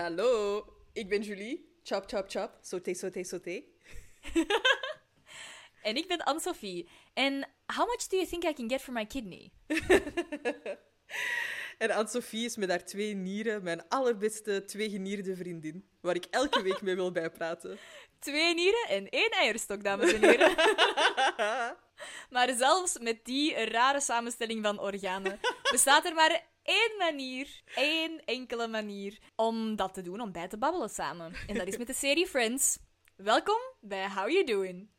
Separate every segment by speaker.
Speaker 1: Hallo, ik ben Julie. Chop, chop, chop. Sauté, sauté, sauté.
Speaker 2: En ik ben Anne-Sophie. En how much do you think I can get for my kidney?
Speaker 1: En Anne-Sophie is met haar twee nieren mijn allerbeste tweegenierde vriendin, waar ik elke week mee wil bijpraten.
Speaker 2: Twee nieren en één eierstok, dames en heren. maar zelfs met die rare samenstelling van organen bestaat er maar één manier, één enkele manier, om dat te doen, om bij te babbelen samen. En dat is met de serie Friends. Welkom bij How You Doing.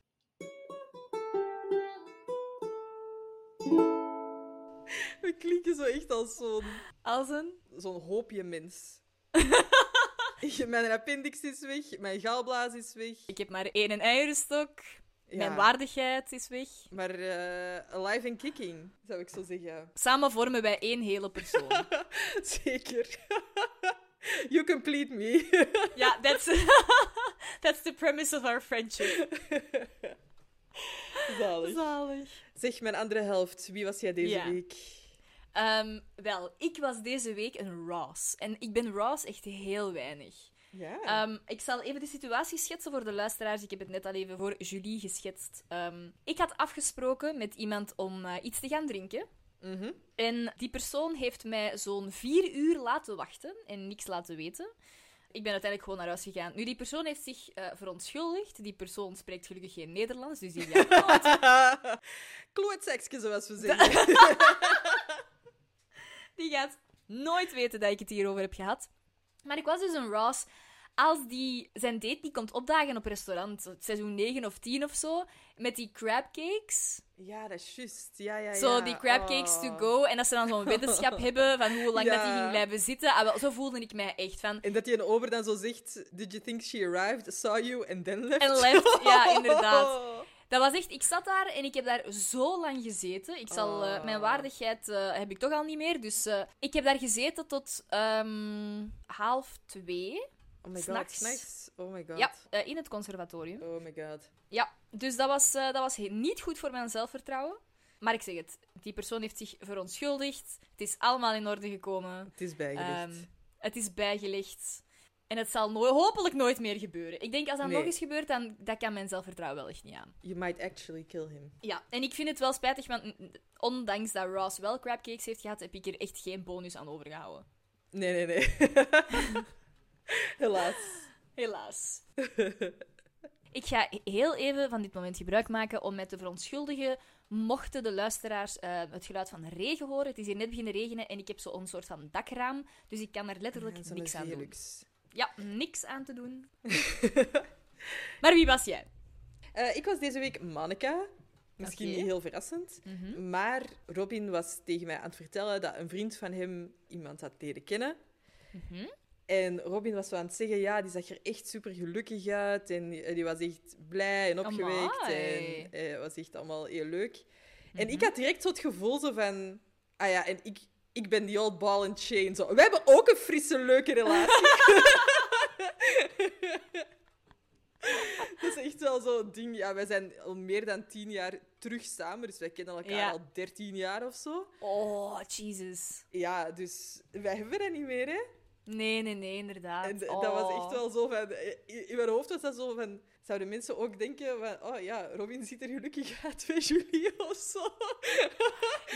Speaker 1: We klinken zo echt als zo'n
Speaker 2: Als een...
Speaker 1: zo'n hoopje mens. mijn appendix is weg, mijn galblaas is weg.
Speaker 2: Ik heb maar één eierstok.
Speaker 1: Ja,
Speaker 2: Mijn waardigheid is weg.
Speaker 1: Maar eh, alive and kicking, zou ik zo zeggen.
Speaker 2: Samen vormen wij één hele persoon.
Speaker 1: Zeker. you complete me.
Speaker 2: Ja, that's, that's the premise of our friendship.
Speaker 1: Zalig.
Speaker 2: Zalig.
Speaker 1: Zeg, mijn andere helft, wie was jij deze
Speaker 2: Ja.
Speaker 1: week?
Speaker 2: Ehm, wel, ik was deze week een Ross. En ik ben Ross echt heel weinig.
Speaker 1: Ja.
Speaker 2: Ehm, ik zal even de situatie schetsen voor de luisteraars. Ik heb het net al even voor Julie geschetst. Ehm, ik had afgesproken met iemand om eh, iets te gaan drinken.
Speaker 1: Mhm.
Speaker 2: En die persoon heeft mij zo'n vier uur laten wachten en niks laten weten. Ik ben uiteindelijk gewoon naar huis gegaan. Nu, die persoon heeft zich eh, verontschuldigd. Die persoon spreekt gelukkig geen Nederlands, dus die gaat nooit.
Speaker 1: Klootzakje, zoals we zeggen.
Speaker 2: Die gaat nooit weten dat ik het hierover heb gehad. Maar ik was dus een Ross. Als die zijn date niet komt opdagen op restaurant, seizoen 9 of 10 of zo, met die crabcakes.
Speaker 1: Ja, dat is juist. Ja, ja, ja.
Speaker 2: Zo, die crabcakes
Speaker 1: Oh.
Speaker 2: to go. En dat ze dan zo'n wetenschap hebben van hoe lang dat die
Speaker 1: Ja.
Speaker 2: ging blijven zitten. Ah, wel, zo voelde ik mij echt van.
Speaker 1: En dat die een ober dan zo zegt: Did you think she arrived, saw you and then left? Oh.
Speaker 2: En left, ja, inderdaad. Dat was echt, ik zat daar en ik heb daar zo lang gezeten. Ik zal, eh,
Speaker 1: Oh.
Speaker 2: mijn waardigheid eh, heb ik toch al niet meer. Dus eh, ik heb daar gezeten tot ehm, half twee.
Speaker 1: Oh my god,
Speaker 2: S'nachts.
Speaker 1: s'nachts. Oh my god.
Speaker 2: Ja, eh, in het conservatorium.
Speaker 1: Oh my god.
Speaker 2: Ja, dus dat was, eh, dat was he- niet goed voor mijn zelfvertrouwen. Maar ik zeg het, die persoon heeft zich verontschuldigd. Het is allemaal in orde gekomen.
Speaker 1: Het is bijgelegd.
Speaker 2: Ehm, het is bijgelegd. En het zal no- hopelijk nooit meer gebeuren. Ik denk als dat
Speaker 1: Nee.
Speaker 2: nog eens gebeurt, dan dat kan mijn zelfvertrouwen wel echt niet aan.
Speaker 1: You might actually kill him.
Speaker 2: Ja, en ik vind het wel spijtig, want mm, ondanks dat Ross wel crabcakes heeft gehad, heb ik er echt geen bonus aan overgehouden.
Speaker 1: Nee, nee, nee. Helaas.
Speaker 2: Helaas. ik ga heel even van dit moment gebruik maken om mij te verontschuldigen. Mochten de luisteraars eh, het geluid van regen horen, het is hier net beginnen regenen en ik heb zo'n soort van dakraam, dus ik kan er letterlijk
Speaker 1: Ja, zo'n
Speaker 2: niks aan doen.
Speaker 1: Velux.
Speaker 2: Ja, niks aan te doen. maar wie was jij?
Speaker 1: Eh, ik was deze week Manneka. Misschien
Speaker 2: Oké.
Speaker 1: niet heel verrassend. Maar Robin was tegen mij aan het vertellen dat een vriend van hem iemand had leren kennen.
Speaker 2: Mhm.
Speaker 1: En Robin was zo aan het zeggen, ja, die zag er echt super gelukkig uit. En eh, die die was echt blij en opgewekt.
Speaker 2: Amai. Mhm.
Speaker 1: En eh, was echt allemaal heel leuk. En ik had direct zo het gevoel zo van... Ah ja, en ik, ik ben die old ball and chain. Zo. We hebben ook een frisse, leuke relatie. Dat is echt wel zo'n ding. Ja, wij zijn al meer dan tien jaar terug samen. Dus wij kennen elkaar
Speaker 2: Ja.
Speaker 1: al dertien jaar of zo.
Speaker 2: Oh, Jesus.
Speaker 1: Ja, dus wij hebben dat niet meer, hè?
Speaker 2: Nee, nee, nee, inderdaad.
Speaker 1: En d-
Speaker 2: Oh.
Speaker 1: dat was echt wel zo van... eh, In in mijn hoofd was dat zo van... Zouden mensen ook denken van... Oh ja, Robin ziet er gelukkig uit bij Julie of zo.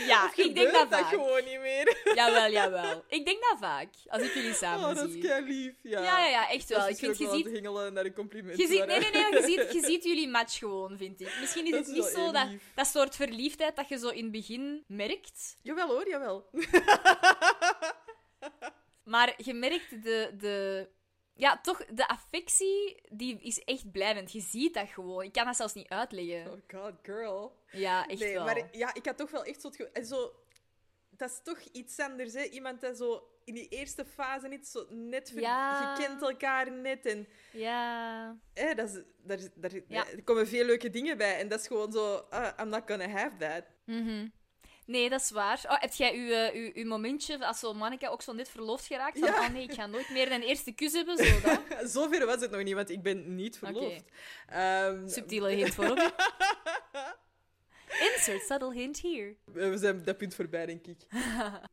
Speaker 2: Ja,
Speaker 1: Of
Speaker 2: ik denk
Speaker 1: gebeurt
Speaker 2: dat
Speaker 1: dat
Speaker 2: vaak.
Speaker 1: gewoon niet meer.
Speaker 2: Jawel, jawel. Ik denk dat vaak, als ik jullie samen
Speaker 1: Oh, dat
Speaker 2: zie.
Speaker 1: is kei lief. Ja,
Speaker 2: Ja, ja, ja, echt
Speaker 1: Dat
Speaker 2: wel.
Speaker 1: is
Speaker 2: Ik vind,
Speaker 1: misschien
Speaker 2: je
Speaker 1: ook wel
Speaker 2: ziet,
Speaker 1: het hengelen naar een compliment.
Speaker 2: je ziet,
Speaker 1: maar,
Speaker 2: nee,
Speaker 1: hè.
Speaker 2: nee, nee, je ziet, je ziet jullie match gewoon, vind ik. Misschien is
Speaker 1: Dat
Speaker 2: het
Speaker 1: is
Speaker 2: niet
Speaker 1: wel
Speaker 2: zo
Speaker 1: heel
Speaker 2: dat,
Speaker 1: lief.
Speaker 2: dat soort verliefdheid dat je zo in het begin merkt.
Speaker 1: Jawel hoor, jawel.
Speaker 2: Maar je merkt de, de... Ja, toch, de affectie, die is echt blijvend. Je ziet dat gewoon. Ik kan dat zelfs niet uitleggen.
Speaker 1: Oh god, girl.
Speaker 2: Ja, echt
Speaker 1: nee,
Speaker 2: wel.
Speaker 1: maar ja, ik had toch wel echt zo het gevoel... en zo- Dat is toch iets anders, hè. Iemand dat zo in die eerste fase niet zo net... ver-
Speaker 2: Ja.
Speaker 1: Je kent elkaar net en...
Speaker 2: Ja...
Speaker 1: Hè, dat is, daar, daar,
Speaker 2: Ja.
Speaker 1: Er komen veel leuke dingen bij. En dat is gewoon zo... ah, I'm not gonna have that.
Speaker 2: Mhm. Nee, dat is waar. Oh, heb jij uw, eh, uw, uw momentje, als zo'n manneke ook zo net verloofd geraakt, van
Speaker 1: Ja.
Speaker 2: oh nee, ik ga nooit meer een eerste kus hebben, zo dat?
Speaker 1: Zover was het nog niet, want ik ben niet verloofd. Ehm,
Speaker 2: Subtiele hint voor Robin. En Insert subtle hint here.
Speaker 1: We zijn dat punt voorbij, denk ik.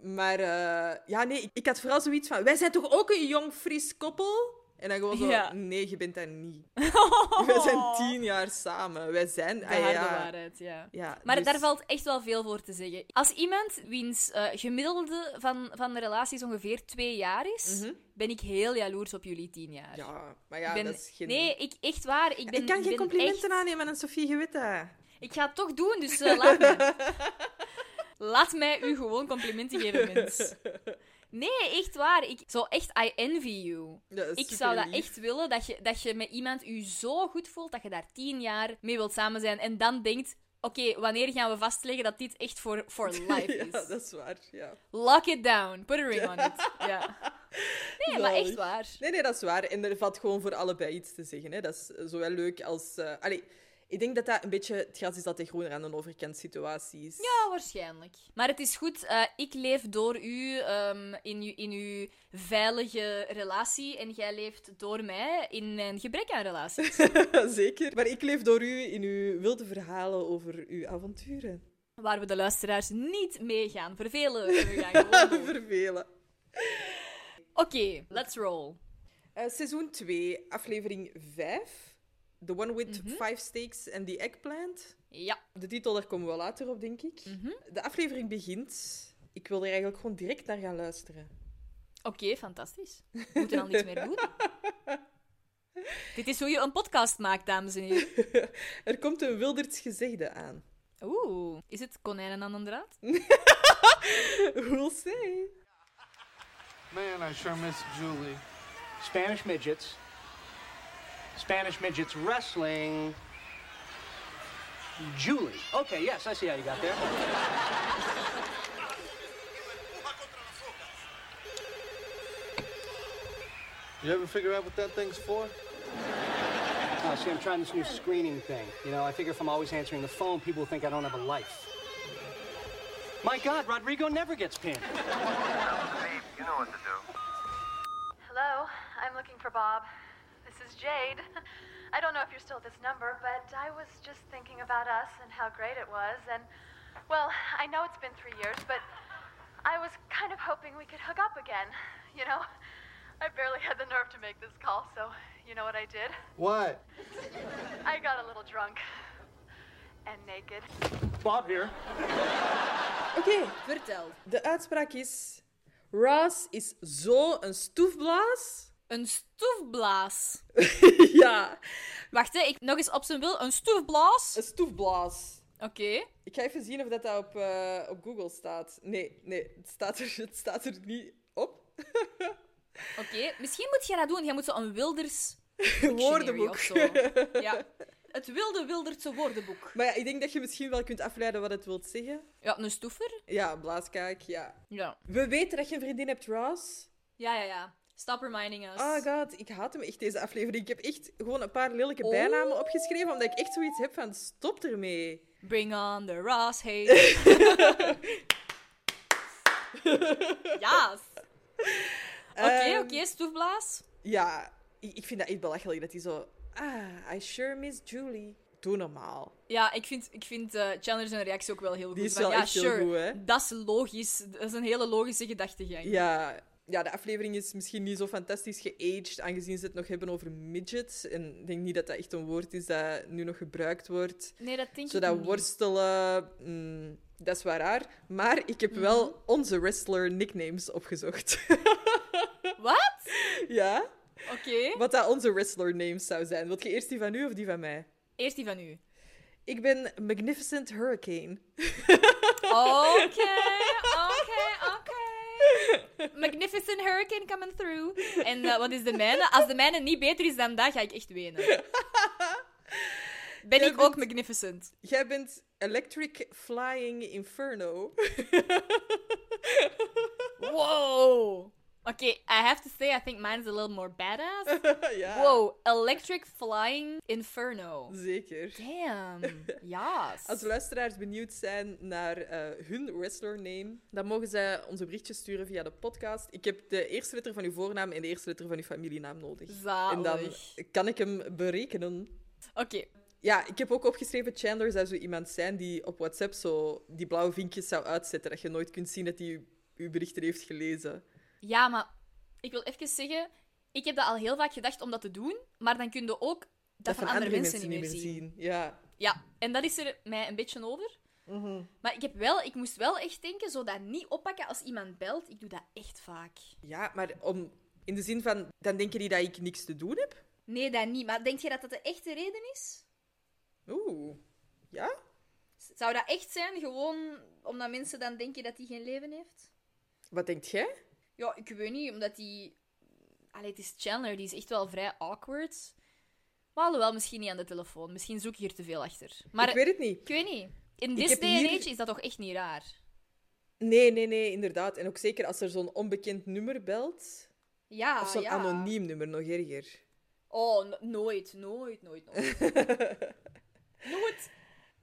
Speaker 1: Maar eh, ja, nee, ik, ik had vooral zoiets van... Wij zijn toch ook een jong, fris koppel? En dan gewoon zo...
Speaker 2: Ja.
Speaker 1: Nee, je bent dat niet. Wij zijn tien jaar samen. Wij zijn...
Speaker 2: De
Speaker 1: ah,
Speaker 2: Oh, harde
Speaker 1: ja.
Speaker 2: waarheid, ja.
Speaker 1: Ja,
Speaker 2: Maar
Speaker 1: dus-
Speaker 2: daar valt echt wel veel voor te zeggen. Als iemand wiens eh, gemiddelde van, van de relaties ongeveer twee jaar is,
Speaker 1: Mhm.
Speaker 2: ben ik heel jaloers op jullie tien jaar.
Speaker 1: Ja, maar ja,
Speaker 2: Ik ben-
Speaker 1: dat is geen...
Speaker 2: Nee, ik, echt waar. Ik, ben,
Speaker 1: ik kan geen
Speaker 2: ben
Speaker 1: complimenten
Speaker 2: echt-
Speaker 1: aannemen aan Sofie Gewetta.
Speaker 2: Ik ga het toch doen, dus eh, laat me. laat mij u gewoon complimenten geven, mens. Nee, echt waar. Ik, zo echt, I envy you.
Speaker 1: Dat is
Speaker 2: Ik zou dat
Speaker 1: superlief.
Speaker 2: echt willen, dat je, dat je met iemand u zo goed voelt, dat je daar tien jaar mee wilt samen zijn. En dan denkt, oké, wanneer gaan we vastleggen dat dit echt voor for life
Speaker 1: Ja,
Speaker 2: is?
Speaker 1: dat is waar, ja.
Speaker 2: Lock it down. Put a ring on it. Ja. Nee, maar
Speaker 1: Zalig.
Speaker 2: echt waar.
Speaker 1: Nee, nee, dat is waar. En er valt gewoon voor allebei iets te zeggen. Hè. Dat is eh, zowel leuk als... eh, Allee, ik denk dat dat een beetje... Het gras is altijd groener aan de overkant situatie is.
Speaker 2: Ja, waarschijnlijk. Maar het is goed, eh, ik leef door u ehm, in, uw- in uw veilige relatie en jij leeft door mij in mijn gebrek aan relatie.
Speaker 1: Zeker. Maar ik leef door u in uw wilde verhalen over uw avonturen.
Speaker 2: Waar we de luisteraars niet mee gaan vervelen. We gaan gewoon door.
Speaker 1: Vervelen.
Speaker 2: Oké, let's roll.
Speaker 1: Eh, seizoen 2, aflevering 5. The one with five steaks and the eggplant.
Speaker 2: Ja.
Speaker 1: De titel, daar komen we later op, denk ik.
Speaker 2: Mhm.
Speaker 1: De aflevering begint. Ik wil er eigenlijk gewoon direct naar gaan luisteren.
Speaker 2: Oké, fantastisch. We moeten al niets meer doen. Dit is hoe je een podcast maakt, dames en heren.
Speaker 1: Er komt een wilderts gezegde aan.
Speaker 2: Oeh, is het konijnen aan een draad?
Speaker 1: We'll see.
Speaker 3: Man, I sure miss Julie.
Speaker 4: Spanish midgets. Spanish midgets wrestling. Julie. Okay, yes, I see how you got there.
Speaker 3: You ever figure out what that thing's for?
Speaker 4: Oh, see, I'm trying this new screening thing. You know, I figure if I'm always answering the phone, people think I don't have a life. My God, Rodrigo never gets pinned.
Speaker 5: Babe, you know what to do.
Speaker 6: Hello, I'm looking for Bob. This is Jade. I don't know if you're still at this number, but I was just thinking about us and how great it was. And, well, I know it's been three years, but I was kind of hoping we could hook up again. You know, I barely had the nerve to make this call, so you know what I did?
Speaker 3: What?
Speaker 6: I got a little drunk and naked.
Speaker 4: Bob here.
Speaker 1: Oké,
Speaker 2: Vertel.
Speaker 1: de uitspraak is... Ross is zo'n stoefblaas.
Speaker 2: Een stoefblaas.
Speaker 1: ja,
Speaker 2: Wacht, hè, ik nog eens op zijn wil. Een stoefblaas.
Speaker 1: een stoefblaas.
Speaker 2: Oké.
Speaker 1: Ik ga even zien of dat, dat op, eh, op Google staat. Nee, nee, het staat er, het staat er niet op.
Speaker 2: Oké, misschien moet je dat doen. Jij moet zo een Wilders dictionary
Speaker 1: Woordenboek.
Speaker 2: of zo. Ja. Het wilde Wildertse woordenboek.
Speaker 1: Maar ja, ik denk dat je misschien wel kunt afleiden wat het wilt zeggen.
Speaker 2: Ja, een stoever.
Speaker 1: Ja, blaaskaak, ja.
Speaker 2: Ja.
Speaker 1: We weten dat je een vriendin hebt, Ross.
Speaker 2: Ja, ja, ja. Stop reminding us.
Speaker 1: Oh god, ik haat hem echt deze aflevering. Ik heb echt gewoon een paar lelijke
Speaker 2: Oh.
Speaker 1: bijnamen opgeschreven, omdat ik echt zoiets heb van stop ermee.
Speaker 2: Bring on the Ross hate. ja. Oké,
Speaker 1: Ehm,
Speaker 2: oké, stoefblaas.
Speaker 1: Ja, ik, ik vind dat echt belachelijk dat hij zo... Ah, I sure miss Julie. Doe normaal.
Speaker 2: Ja, ik vind, ik vind eh, Chandler zijn reactie ook wel heel goed.
Speaker 1: Die is
Speaker 2: Van,
Speaker 1: wel
Speaker 2: ja,
Speaker 1: echt heel
Speaker 2: sure.
Speaker 1: goed, hè?
Speaker 2: Dat is logisch. Dat is een hele logische gedachtegang.
Speaker 1: Ja, ja, de aflevering is misschien niet zo fantastisch geaged, aangezien ze het nog hebben over midgets. En ik denk niet dat dat echt een woord is dat nu nog gebruikt wordt.
Speaker 2: Nee, dat denk
Speaker 1: Zo
Speaker 2: ik
Speaker 1: dat
Speaker 2: niet.
Speaker 1: worstelen, mm, dat is wel raar. Maar ik heb
Speaker 2: Mhm.
Speaker 1: wel onze wrestler nicknames opgezocht.
Speaker 2: Wat?
Speaker 1: ja?
Speaker 2: Oké.
Speaker 1: Wat dat onze wrestler names zou zijn. Wilt je eerst die van u of die van mij?
Speaker 2: Eerst die van u.
Speaker 1: Ik ben Magnificent Hurricane.
Speaker 2: Oké, oké, oké. Oh. Magnificent hurricane coming through. En eh, wat is de mijne? Als de mijne niet beter is dan dat, ga ik echt wenen. Ben ik ook magnificent?
Speaker 1: Jij bent Electric Flying Inferno.
Speaker 2: Wow. Oké, I have to say, I think mine is a little more badass.
Speaker 1: ja,
Speaker 2: Wow, electric flying inferno.
Speaker 1: zeker.
Speaker 2: Damn, yes.
Speaker 1: Als luisteraars benieuwd zijn naar eh, hun wrestler name, dan mogen zij onze berichtjes sturen via de podcast. Ik heb de eerste letter van uw voornaam en de eerste letter van uw familienaam nodig. En dan
Speaker 2: Zalig.
Speaker 1: kan ik hem berekenen.
Speaker 2: Oké,
Speaker 1: Ja, ik heb ook opgeschreven, Chandler zou zo iemand zijn die op WhatsApp zo die blauwe vinkjes zou uitzetten, dat je nooit kunt zien dat hij uw- uw berichten heeft gelezen.
Speaker 2: Ja, maar ik wil even zeggen, ik heb dat al heel vaak gedacht om dat te doen, maar dan kun je ook dat, van, andere, mensen, niet meer zien.
Speaker 1: Ja.
Speaker 2: Ja, en dat is er mij een beetje over.
Speaker 1: Mhm.
Speaker 2: Maar ik, heb wel, ik moest wel echt denken, zo dat niet oppakken als iemand belt. Ik doe dat echt vaak.
Speaker 1: ja, maar om, in de zin van, dan denken die dat ik niks te doen heb?
Speaker 2: Nee, dat niet. Maar denk je dat dat de echte reden is?
Speaker 1: Oeh. Ja?
Speaker 2: Zou dat echt zijn, gewoon omdat mensen dan denken dat hij geen leven heeft?
Speaker 1: Wat denkt jij?
Speaker 2: Ja, ik weet niet, omdat die... Allee, het is Chandler, die is echt wel vrij awkward. Maar alhoewel, misschien niet aan de telefoon. Misschien zoek ik hier te veel achter. Maar
Speaker 1: ik weet het niet.
Speaker 2: ik weet niet. In
Speaker 1: heb
Speaker 2: dit day and
Speaker 1: hier-
Speaker 2: age is dat toch echt niet raar?
Speaker 1: Nee, nee, nee, inderdaad. En ook zeker als er zo'n onbekend nummer belt.
Speaker 2: Ja,
Speaker 1: of zo'n
Speaker 2: Ah, ja.
Speaker 1: anoniem nummer, nog erger.
Speaker 2: Oh, no- nooit, nooit, nooit, nooit. nooit.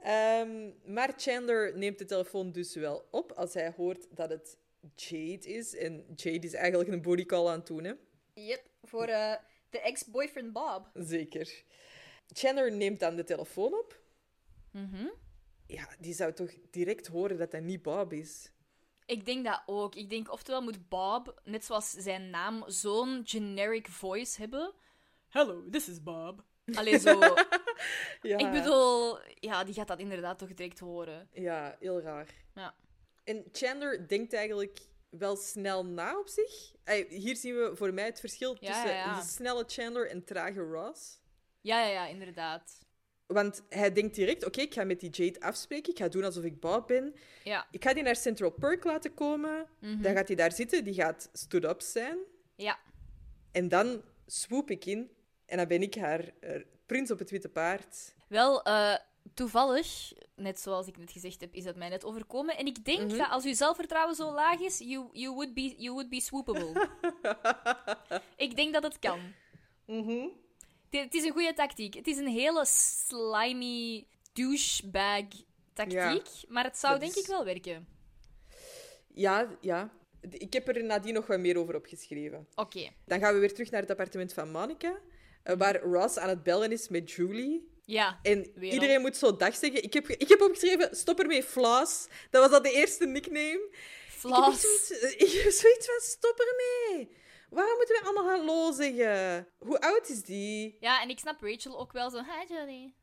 Speaker 1: Ehm, maar Chandler neemt de telefoon dus wel op als hij hoort dat het Jade is. En Jade is eigenlijk een bodycall aan het doen, hè?
Speaker 2: Yep, voor eh, de ex-boyfriend Bob.
Speaker 1: Zeker. Chandler neemt dan de telefoon op.
Speaker 2: Mhm.
Speaker 1: Ja, die zou toch direct horen dat dat niet Bob is?
Speaker 2: Ik denk dat ook. Ik denk oftewel moet Bob, net zoals zijn naam, zo'n generic voice hebben. Hello, this is Bob. Allee, zo.
Speaker 1: Ja,
Speaker 2: Ik bedoel, ja, die gaat dat inderdaad toch direct horen.
Speaker 1: Ja, heel raar.
Speaker 2: Ja.
Speaker 1: En Chandler denkt eigenlijk wel snel na op zich. Ey, Hier zien we voor mij het verschil
Speaker 2: Ja,
Speaker 1: tussen
Speaker 2: ja, ja.
Speaker 1: de snelle Chandler en trage Ross.
Speaker 2: Ja, ja, ja, inderdaad.
Speaker 1: Want hij denkt direct, oké, ik ga met die Jade afspreken. Ik ga doen alsof ik Bob ben.
Speaker 2: Ja,
Speaker 1: Ik ga die naar Central Perk laten komen.
Speaker 2: Mhm.
Speaker 1: Dan gaat hij daar zitten. Die gaat stood-up zijn.
Speaker 2: ja.
Speaker 1: En dan swoop ik in. En dan ben ik haar eh, prins op het witte paard.
Speaker 2: Wel, eh, toevallig, net zoals ik net gezegd heb, is dat mij net overkomen. En ik denk
Speaker 1: Mhm.
Speaker 2: dat als uw zelfvertrouwen zo laag is, you, you, would, be, you would be swoopable. ik denk dat het kan.
Speaker 1: Mhm.
Speaker 2: Het- Het is een goede tactiek. Het is een hele slimy douchebag tactiek. Maar het zou
Speaker 1: dat
Speaker 2: denk
Speaker 1: is-
Speaker 2: ik wel werken.
Speaker 1: Ja, ja. D- Ik heb er nadien nog wat meer over opgeschreven.
Speaker 2: Oké.
Speaker 1: Dan gaan we weer terug naar het appartement van Monica.
Speaker 2: Mhm.
Speaker 1: eh, Waar Ross aan het bellen is met Julie.
Speaker 2: Ja.
Speaker 1: En
Speaker 2: Weer al.
Speaker 1: iedereen moet zo dag zeggen. Ik heb, ik heb opgeschreven, stop ermee, Flaws. Dat was al de eerste nickname.
Speaker 2: Flas.
Speaker 1: Ik heb, zoiets, eh, ik heb zoiets van, stop ermee. Waarom moeten we allemaal hallo zeggen? Hoe oud is die?
Speaker 2: Ja, en ik snap Rachel ook wel zo. Hi, Johnny.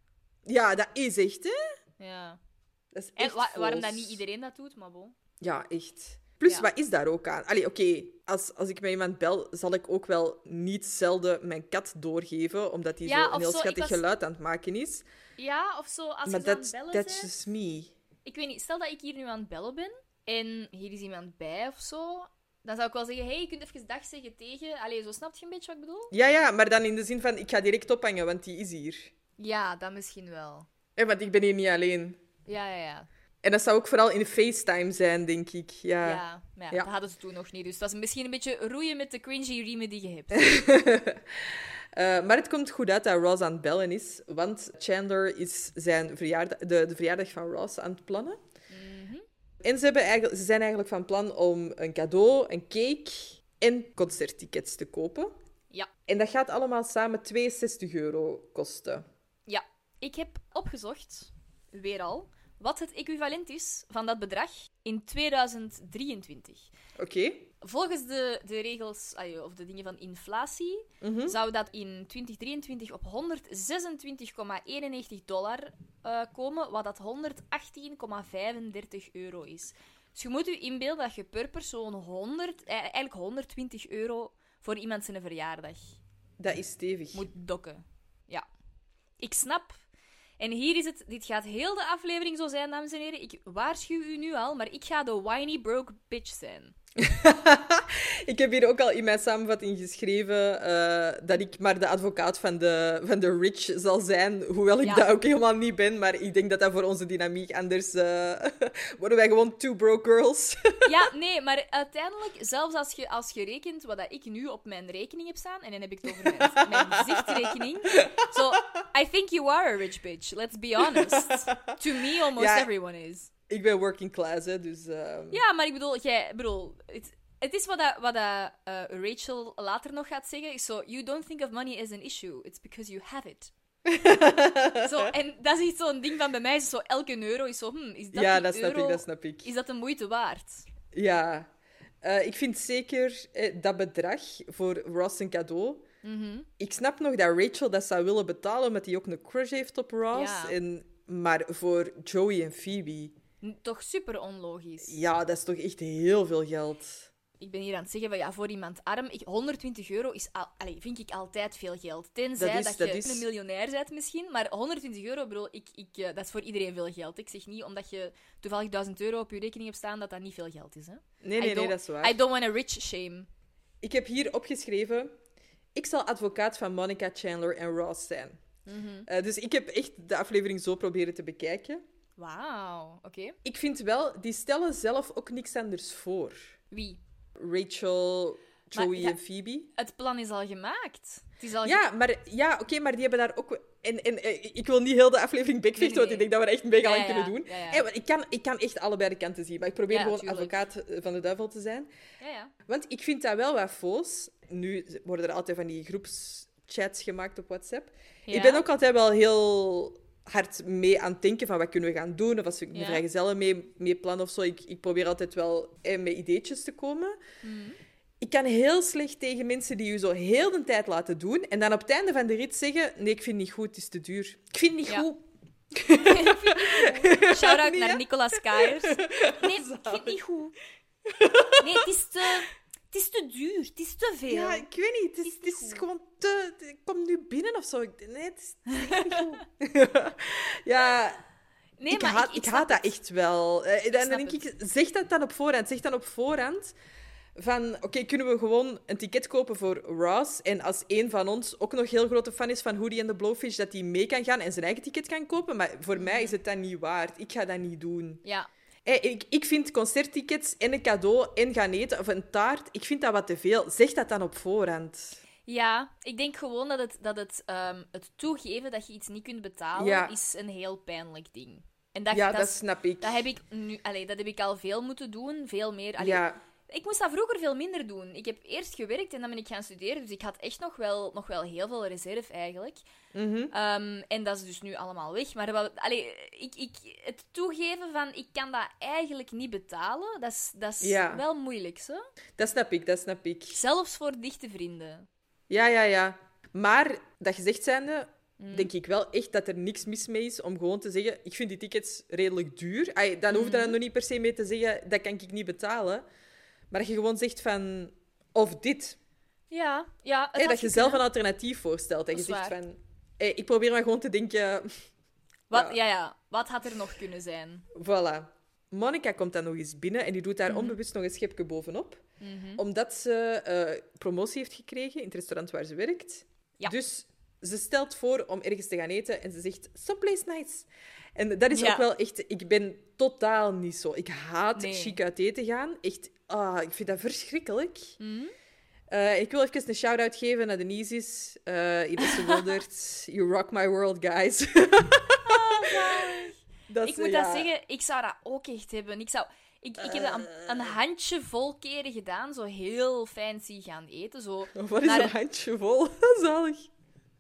Speaker 1: Ja, dat is echt, hè?
Speaker 2: Ja.
Speaker 1: Dat is
Speaker 2: En
Speaker 1: echt
Speaker 2: wa- waarom
Speaker 1: vals.
Speaker 2: dat niet iedereen dat doet, maar bon.
Speaker 1: Ja, echt. Plus,
Speaker 2: Ja.
Speaker 1: wat is daar ook aan? Allee, oké, als, als ik met iemand bel, zal ik ook wel niet zelden mijn kat doorgeven, omdat die
Speaker 2: Ja,
Speaker 1: zo
Speaker 2: of
Speaker 1: een heel
Speaker 2: zo, ik
Speaker 1: schattig
Speaker 2: was-
Speaker 1: geluid aan het maken is.
Speaker 2: Ja, of zo. Als
Speaker 1: maar
Speaker 2: je zo aan het
Speaker 1: that's,
Speaker 2: bellen
Speaker 1: that's
Speaker 2: bent.
Speaker 1: just me.
Speaker 2: Ik weet niet, stel dat ik hier nu aan het bellen ben en hier is iemand bij of zo. Dan zou ik wel zeggen, hé, hey, je kunt even dag zeggen tegen. Allee, zo snap je een beetje wat ik bedoel?
Speaker 1: Ja, ja, maar dan in de zin van, ik ga direct ophangen, want die is hier.
Speaker 2: Ja, dat misschien wel.
Speaker 1: Hè, want ik ben hier niet alleen.
Speaker 2: Ja, ja, ja.
Speaker 1: En dat zou ook vooral in FaceTime zijn, denk ik. Ja.
Speaker 2: Ja, maar ja,
Speaker 1: Ja.
Speaker 2: dat hadden ze toen nog niet. Dus dat is misschien een beetje roeien met de cringy riemen die je hebt.
Speaker 1: Eh, maar het komt goed uit dat Ross aan het bellen is, want Chandler is zijn verjaardag, de, de verjaardag van Ross aan het plannen.
Speaker 2: Mhm.
Speaker 1: En ze, hebben eigenlijk, ze zijn eigenlijk van plan om een cadeau, een cake en concerttickets te kopen.
Speaker 2: Ja.
Speaker 1: En dat gaat allemaal samen 62 euro kosten.
Speaker 2: Ja, ik heb opgezocht, weer al, wat het equivalent is van dat bedrag in 2023.
Speaker 1: Oké.
Speaker 2: Volgens de, de regels ah, ja, of de dingen van inflatie zou dat in 2023 op 126,91 dollar eh, komen, wat dat 118,35 euro is. Dus je moet je inbeelden dat je per persoon 100, eh, eigenlijk 120 euro voor iemand zijn verjaardag
Speaker 1: Dat is stevig.
Speaker 2: moet dokken. Ja. Ik snap. En hier is het. Dit gaat heel de aflevering zo zijn, dames en heren. Ik waarschuw u nu al, maar ik ga de whiny broke bitch zijn.
Speaker 1: Ik heb hier ook al in mijn samenvatting geschreven eh, dat ik maar de advocaat van de, van de rich zal zijn. Hoewel ik
Speaker 2: Ja.
Speaker 1: dat ook helemaal niet ben. Maar ik denk dat dat voor onze dynamiek anders... eh, worden wij gewoon two broke girls.
Speaker 2: Ja, nee, maar uiteindelijk, zelfs als je, als je rekent wat dat ik nu op mijn rekening heb staan, en dan heb ik het over mijn, mijn zichtrekening. So, I think you are a rich bitch, let's be honest. To me, almost
Speaker 1: Ja.
Speaker 2: everyone is.
Speaker 1: ik ben working class, hè, dus... ehm,
Speaker 2: Ja, maar ik bedoel, jij, ik bedoel het, het is wat, dat, wat dat, eh, Rachel later nog gaat zeggen. is Zo, you don't think of money as an issue, it's because you have it. Zo, en dat is echt zo'n ding van bij mij. Is zo, elke euro is zo, hm, is dat
Speaker 1: ja,
Speaker 2: die
Speaker 1: dat snap
Speaker 2: euro-
Speaker 1: ik, dat snap ik.
Speaker 2: Is dat de moeite waard?
Speaker 1: Ja. Eh, ik vind zeker eh, dat bedrag voor Ross een cadeau.
Speaker 2: Mhm.
Speaker 1: Ik snap nog dat Rachel dat zou willen betalen, omdat hij ook een crush heeft op Ross.
Speaker 2: Ja.
Speaker 1: En, maar voor Joey en Phoebe,
Speaker 2: N- Toch super onlogisch.
Speaker 1: ja, dat is toch echt heel veel geld.
Speaker 2: Ik ben hier aan het zeggen van ja, voor iemand arm, ik, 120 euro is al, allee, vind ik altijd veel geld. Tenzij
Speaker 1: Dat
Speaker 2: dat,
Speaker 1: is- dat
Speaker 2: je
Speaker 1: is-
Speaker 2: een miljonair bent misschien, maar 120 euro, bro, ik, ik, eh, dat is voor iedereen veel geld. Ik zeg niet omdat je toevallig 1000 euro op je rekening hebt staan dat dat niet veel geld is. Hè?
Speaker 1: Nee, nee,
Speaker 2: I
Speaker 1: nee,
Speaker 2: don't-
Speaker 1: dat is waar.
Speaker 2: I don't want a rich shame.
Speaker 1: Ik heb hier opgeschreven: ik zal advocaat van Monica Chandler en Ross zijn.
Speaker 2: Mhm.
Speaker 1: Eh, dus ik heb echt de aflevering zo proberen te bekijken.
Speaker 2: Wauw, oké.
Speaker 1: Ik vind wel, die stellen zelf ook niks anders voor.
Speaker 2: Wie?
Speaker 1: Rachel,
Speaker 2: Maar
Speaker 1: Joey
Speaker 2: ja-
Speaker 1: en Phoebe.
Speaker 2: Het plan is al gemaakt. Het is al ge-
Speaker 1: Ja, maar, ja oké, maar die hebben daar ook... En, en eh, ik wil niet heel de aflevering bekvechten,
Speaker 2: Nee, nee,
Speaker 1: want ik denk dat we er echt mega
Speaker 2: Ja,
Speaker 1: lang
Speaker 2: ja,
Speaker 1: kunnen doen.
Speaker 2: ja, ja.
Speaker 1: Eh, want ik, kan, ik kan echt allebei de kanten zien, maar ik probeer
Speaker 2: Ja,
Speaker 1: gewoon
Speaker 2: tuurlijk.
Speaker 1: advocaat eh, van de duivel te zijn.
Speaker 2: ja, ja.
Speaker 1: Want ik vind dat wel wat foos. Nu worden er altijd van die groepschats gemaakt op WhatsApp.
Speaker 2: Ja.
Speaker 1: Ik ben ook altijd wel heel hard mee aan het denken van wat kunnen we gaan doen. Of als we een
Speaker 2: Ja.
Speaker 1: vrijgezellen mee, mee plannen of zo. Ik, ik probeer altijd wel eh, met ideetjes te komen.
Speaker 2: Mhm.
Speaker 1: Ik kan heel slecht tegen mensen die u zo heel de tijd laten doen. En dan op het einde van de rit zeggen, nee, ik vind het niet goed, het is te duur. Ik vind het niet
Speaker 2: Ja.
Speaker 1: goed.
Speaker 2: Shout-out
Speaker 1: Nee, hè?
Speaker 2: naar Nicolas Kaiers. Nee, ik vind het niet goed. Nee, het is te, het is te duur. Het is te veel.
Speaker 1: Ja, ik weet niet. Het
Speaker 2: Is
Speaker 1: is,
Speaker 2: niet
Speaker 1: het is
Speaker 2: goed.
Speaker 1: gewoon te... Ik kom nu binnen of zo. Ik- Nee, het is, het is echt niet goed. ja,
Speaker 2: nee,
Speaker 1: ik, haat, ik, haat
Speaker 2: snap
Speaker 1: dat echt wel. Eh, en
Speaker 2: snap
Speaker 1: dan denk ik, zeg dat dan op voorhand. Zeg dan op voorhand van, oké, kunnen we gewoon een ticket kopen voor Ross? En als één van ons ook nog heel grote fan is van Hoodie en de Blowfish, dat die mee kan gaan en zijn eigen ticket kan kopen. Maar voor mij is het dan niet waard. Ik ga dat niet doen.
Speaker 2: Ja,
Speaker 1: Hé, ik, ik vind concerttickets en een cadeau en gaan eten of een taart, ik vind dat wat te veel. Zeg dat dan op voorhand.
Speaker 2: ja, ik denk gewoon dat het, dat het, ehm, het toegeven dat je iets niet kunt betalen,
Speaker 1: Ja.
Speaker 2: is een heel pijnlijk ding. En dat,
Speaker 1: ja,
Speaker 2: dat,
Speaker 1: dat,
Speaker 2: is-
Speaker 1: snap ik.
Speaker 2: dat heb ik nu, allee, dat heb ik al veel moeten doen, veel meer. Allee,
Speaker 1: Ja.
Speaker 2: Ik moest dat vroeger veel minder doen. Ik heb eerst gewerkt en dan ben ik gaan studeren, dus ik had echt nog wel, nog wel heel veel reserve eigenlijk.
Speaker 1: Mhm.
Speaker 2: Ehm, en dat is dus nu allemaal weg. Maar wat, allee, ik, ik, het toegeven van ik kan dat eigenlijk niet betalen, dat is, dat is
Speaker 1: Ja.
Speaker 2: wel moeilijk, zo.
Speaker 1: Dat snap ik, dat snap ik.
Speaker 2: Zelfs voor dichte vrienden.
Speaker 1: Ja, ja, ja. Maar dat gezegd zijnde,
Speaker 2: Mm.
Speaker 1: denk ik wel echt dat er niks mis mee is om gewoon te zeggen: ik vind die tickets redelijk duur. Ai, dan
Speaker 2: Mm.
Speaker 1: hoef je daar nog niet per se mee te zeggen: dat kan ik niet betalen. Maar dat je gewoon zegt van. Of dit.
Speaker 2: Ja, ja.
Speaker 1: Hè, dat je zelf een alternatief voorstelt. En je
Speaker 2: Dat is
Speaker 1: zegt
Speaker 2: waar.
Speaker 1: van. hé, ik probeer maar gewoon te denken:
Speaker 2: Wat, ja, ja. Wat had er nog kunnen zijn?
Speaker 1: Voilà. Monica komt dan nog eens binnen en die doet daar
Speaker 2: Mhm.
Speaker 1: onbewust nog een schepje bovenop. Omdat ze eh, promotie heeft gekregen in het restaurant waar ze werkt.
Speaker 2: Ja.
Speaker 1: Dus ze stelt voor om ergens te gaan eten en ze zegt, someplace nice. En dat is
Speaker 2: Ja.
Speaker 1: ook wel echt... Ik ben totaal niet zo. Ik haat
Speaker 2: Nee.
Speaker 1: chic uit eten gaan. Echt, ah, ik vind dat verschrikkelijk.
Speaker 2: Mhm.
Speaker 1: Eh, ik wil even een shout-out geven naar de Nizis. Eh Idisse Wildert. You rock my world, guys. Dat
Speaker 2: Oh,
Speaker 1: is,
Speaker 2: Ik moet
Speaker 1: ja.
Speaker 2: dat zeggen, ik zou dat ook echt hebben. Ik, zou, ik, ik heb dat een, een
Speaker 1: Eh.
Speaker 2: handje vol keren gedaan, zo heel fancy gaan eten. Zo
Speaker 1: Wat is
Speaker 2: naar
Speaker 1: een
Speaker 2: een-
Speaker 1: handje vol? Zalig.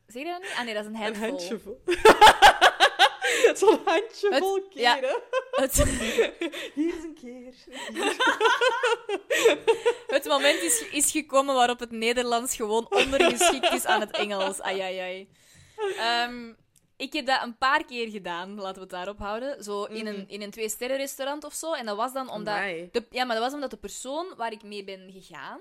Speaker 2: Zeg je dat niet? Ah nee, dat is een
Speaker 1: Een
Speaker 2: handvol.
Speaker 1: handje vol. Zo'n handje
Speaker 2: Het-
Speaker 1: vol keer,
Speaker 2: ja.
Speaker 1: hè?
Speaker 2: Het,
Speaker 1: Hier is een keer.
Speaker 2: het moment is, is gekomen waarop het Nederlands gewoon ondergeschikt is aan het Engels. Ai, ai, ai. Ehm, ik heb dat een paar keer gedaan, laten we het daarop houden. Zo in een, in een twee-sterren-restaurant of zo. En dat was dan omdat...
Speaker 1: Mhm. Amai.
Speaker 2: De, ja, maar dat was omdat de persoon waar ik mee ben gegaan,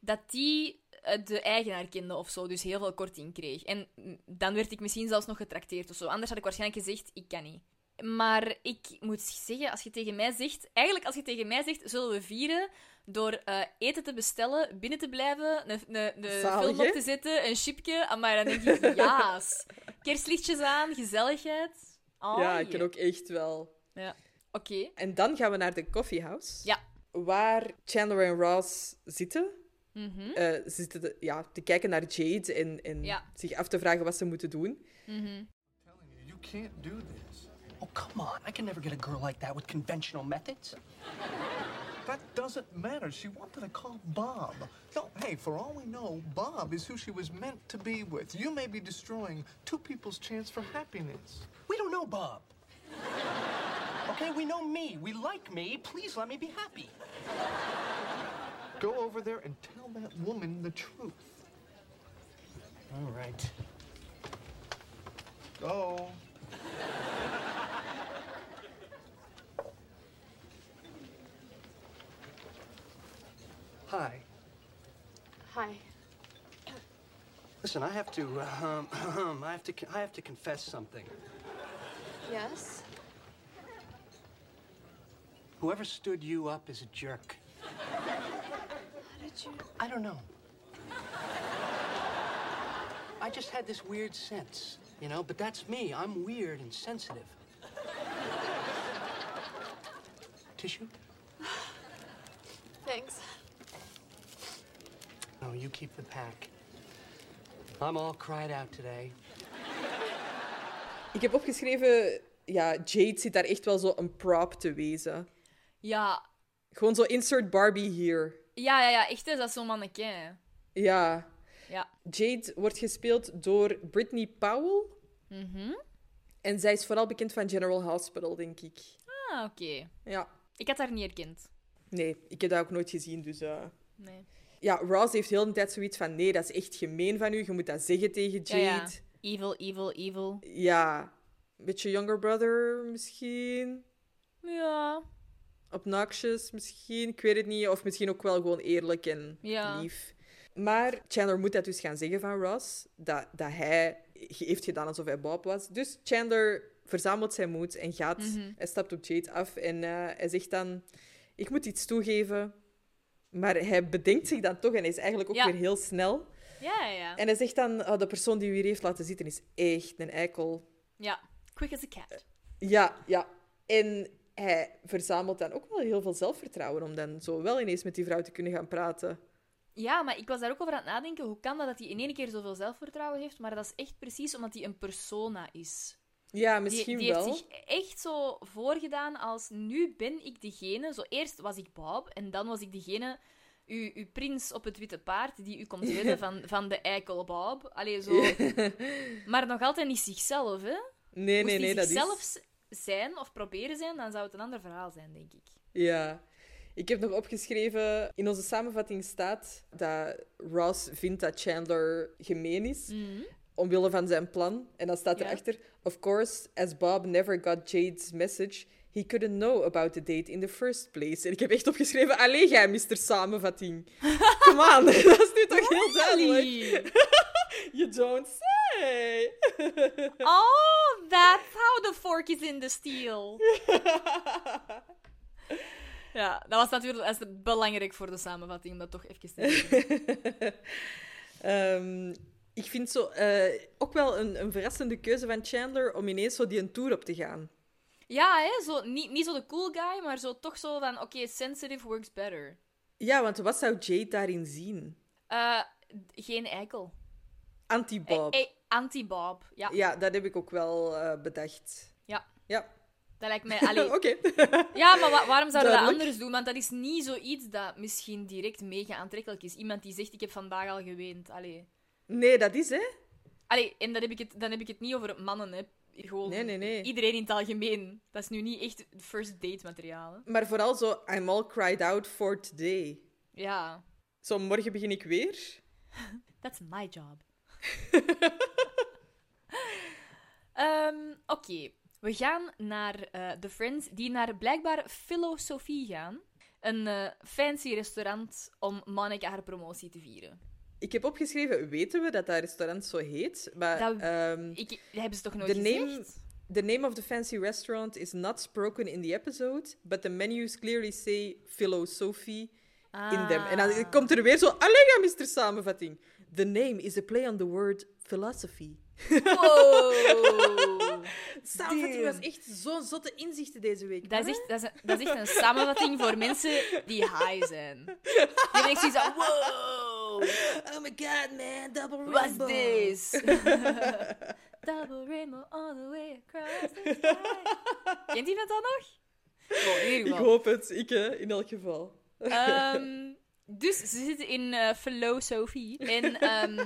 Speaker 2: dat die eh, de eigenaar kende of zo. Dus heel veel korting kreeg. En mm, dan werd ik misschien zelfs nog getrakteerd of zo. Anders had ik waarschijnlijk gezegd, ik kan niet. Maar ik moet zeggen, als je tegen mij zegt... Eigenlijk, als je tegen mij zegt, zullen we vieren door eh, eten te bestellen, binnen te blijven, een, een, een
Speaker 1: Zalig,
Speaker 2: film
Speaker 1: hè?
Speaker 2: op te zetten, een chipje. ah, Maar dan denk ik, jaas. Kerstlichtjes aan, gezelligheid. Oh,
Speaker 1: ja, ik
Speaker 2: yeah.
Speaker 1: kan ook echt wel.
Speaker 2: Ja. Oké.
Speaker 1: En dan gaan we naar de coffeehouse.
Speaker 2: Ja.
Speaker 1: Waar Chandler en Ross zitten.
Speaker 2: Mhm.
Speaker 1: Eh, ze zitten te, ja, te kijken naar Jade en, en
Speaker 2: Ja.
Speaker 1: zich af te vragen wat ze moeten doen.
Speaker 3: You can't do this.
Speaker 4: Oh, come on. I can never get a girl like that with conventional methods.
Speaker 3: That doesn't matter. She wanted to call Bob. No, hey, for all we know, Bob is who she was meant to be with. You may be destroying two people's chance for happiness.
Speaker 4: We don't know Bob. Okay, we know me. We like me. Please let me be happy.
Speaker 3: Go over there and tell that woman the truth.
Speaker 4: All right.
Speaker 3: Go.
Speaker 4: Hi.
Speaker 7: Hi.
Speaker 4: Listen, I have to. Um, I have to. I have to confess something.
Speaker 7: Yes?
Speaker 4: Whoever stood you up is a jerk.
Speaker 7: How did you.
Speaker 4: I don't know. I just had this weird sense, you know, but that's me. I'm weird and sensitive. Tissue?
Speaker 7: Thanks.
Speaker 4: No, you keep the pack. I'm all cried out today.
Speaker 1: Ik heb opgeschreven, ja, Jade zit daar echt wel zo een prop te wezen.
Speaker 2: Ja,
Speaker 1: Gewoon zo insert Barbie hier.
Speaker 2: ja, ja, ja echt, hè, dat is zo'n manneke. hè.
Speaker 1: Ja.
Speaker 2: Ja.
Speaker 1: Jade wordt gespeeld door Brittany Powell.
Speaker 2: Mhm.
Speaker 1: En zij is vooral bekend van General Hospital, denk ik.
Speaker 2: Ah, oké.
Speaker 1: Ja.
Speaker 2: Ik had haar niet herkend.
Speaker 1: Nee, ik heb dat ook nooit gezien, dus... eh.
Speaker 2: Nee.
Speaker 1: Ja, Ross heeft heel de tijd zoiets van... Nee, dat is echt gemeen van u. Je moet dat zeggen tegen Jade.
Speaker 2: Ja, ja. Evil, evil, evil.
Speaker 1: Ja, een beetje younger brother misschien.
Speaker 2: Ja.
Speaker 1: Obnoxious misschien, ik weet het niet. Of misschien ook wel gewoon eerlijk en
Speaker 2: Ja.
Speaker 1: lief. Maar Chandler moet dat dus gaan zeggen van Ross. Dat, dat hij heeft gedaan alsof hij Bob was. Dus Chandler verzamelt zijn moed en gaat.
Speaker 2: Mhm.
Speaker 1: Hij stapt op Jade af en eh, hij zegt dan... Ik moet iets toegeven. Maar hij bedenkt zich dan toch en hij is eigenlijk ook
Speaker 2: Ja.
Speaker 1: weer heel snel.
Speaker 2: Ja, ja.
Speaker 1: En hij zegt dan... "Oh, de persoon die u hier heeft laten zitten is echt een eikel.
Speaker 2: Ja. Quick as a cat.
Speaker 1: Ja, ja. En hij verzamelt dan ook wel heel veel zelfvertrouwen om dan zo wel ineens met die vrouw te kunnen gaan praten.
Speaker 2: Ja, maar ik was daar ook over aan het nadenken. Hoe kan dat dat hij in één keer zoveel zelfvertrouwen heeft? Maar dat is echt precies omdat hij een persona is.
Speaker 1: Ja,
Speaker 2: Die-
Speaker 1: misschien
Speaker 2: die
Speaker 1: wel.
Speaker 2: heeft zich echt zo voorgedaan als nu ben ik degene. Zo eerst was ik Bob en dan was ik degene, uw, uw prins op het witte paard, die u komt redden van, van de eikel Bob. Allee, zo. Maar nog altijd niet zichzelf, hè?
Speaker 1: Nee, nee,
Speaker 2: Moest
Speaker 1: nee,
Speaker 2: hij
Speaker 1: dat
Speaker 2: zichzelf
Speaker 1: is...
Speaker 2: z- zijn of proberen zijn, dan zou het een ander verhaal zijn, denk ik.
Speaker 1: Ja. Ik heb nog opgeschreven, in onze samenvatting staat dat Ross vindt dat Chandler gemeen is, omwille van zijn plan. En dan staat
Speaker 2: Ja.
Speaker 1: erachter, of course, as Bob never got Jade's message, he couldn't know about the date in the first place. En ik heb echt opgeschreven, allee jij, Mr. Samenvatting. Kom aan, dat is nu toch heel duidelijk.
Speaker 2: Allee.
Speaker 1: You don't say!
Speaker 2: Oh, that's how the fork is in the steel. Ja, dat was natuurlijk dat is belangrijk voor de samenvatting, om dat toch even te zeggen.
Speaker 1: Ehm, ik vind zo, eh, ook wel een, een verrassende keuze van Chandler om ineens zo die een tour op te gaan.
Speaker 2: Ja, hè? Zo, niet, niet zo de cool guy, maar zo, toch zo van, oké, sensitive works better.
Speaker 1: Ja, want wat zou Jade daarin zien?
Speaker 2: Eh, d- geen eikel.
Speaker 1: Anti-Bob.
Speaker 2: Eh, eh, Anti-Bob, ja,
Speaker 1: Ja, dat heb ik ook wel eh, bedacht.
Speaker 2: Ja.
Speaker 1: Ja,
Speaker 2: Dat lijkt mij... Allee,
Speaker 1: oké.
Speaker 2: Ja, maar wa- waarom zouden we dat
Speaker 1: Duidelijk.
Speaker 2: anders doen? Want dat is niet zoiets dat misschien direct mega aantrekkelijk is. Iemand die zegt, ik heb vandaag al geweend. Allee,
Speaker 1: Nee, dat is hè.
Speaker 2: Allee en dan heb, ik het, dan heb ik het niet over mannen, hè. Gewoon
Speaker 1: Nee, nee, nee.
Speaker 2: iedereen in het algemeen. Dat is nu niet echt first date materiaal. hè.
Speaker 1: Maar vooral zo, I'm all cried out for today.
Speaker 2: Ja,
Speaker 1: Zo, morgen begin ik weer.
Speaker 2: That's my job. Ehm, Oké, we gaan naar eh The Friends, die naar blijkbaar Filosofie gaan. Een eh, fancy restaurant om Monica haar promotie te vieren.
Speaker 1: Ik heb opgeschreven, weten we dat dat restaurant zo heet? Maar
Speaker 2: Dat-
Speaker 1: ehm,
Speaker 2: Ik, dat hebben ze toch nooit
Speaker 1: The name-
Speaker 2: gezegd?
Speaker 1: The name of the fancy restaurant is not spoken in the episode, but the menus clearly say philosophy in them. En dan komt er weer zo, allee, ja, Mr. Samenvatting. The name is a play on the word philosophy.
Speaker 2: Wow.
Speaker 1: Samenvatting was echt zo'n zotte inzichten deze week.
Speaker 2: Dat is, echt, dat, is een, dat is echt een samenvatting voor mensen die high zijn. Die denken zoiets van, wow.
Speaker 1: Oh my god, man, double rainbow.
Speaker 2: What's this? Double rainbow all the way across the sky. Kent iemand dat nog? Wel, in ieder
Speaker 1: Ik
Speaker 2: geval.
Speaker 1: hoop het, ik hè, in elk geval.
Speaker 2: Ehm, dus ze zitten in eh Flow Sophie. En ehm,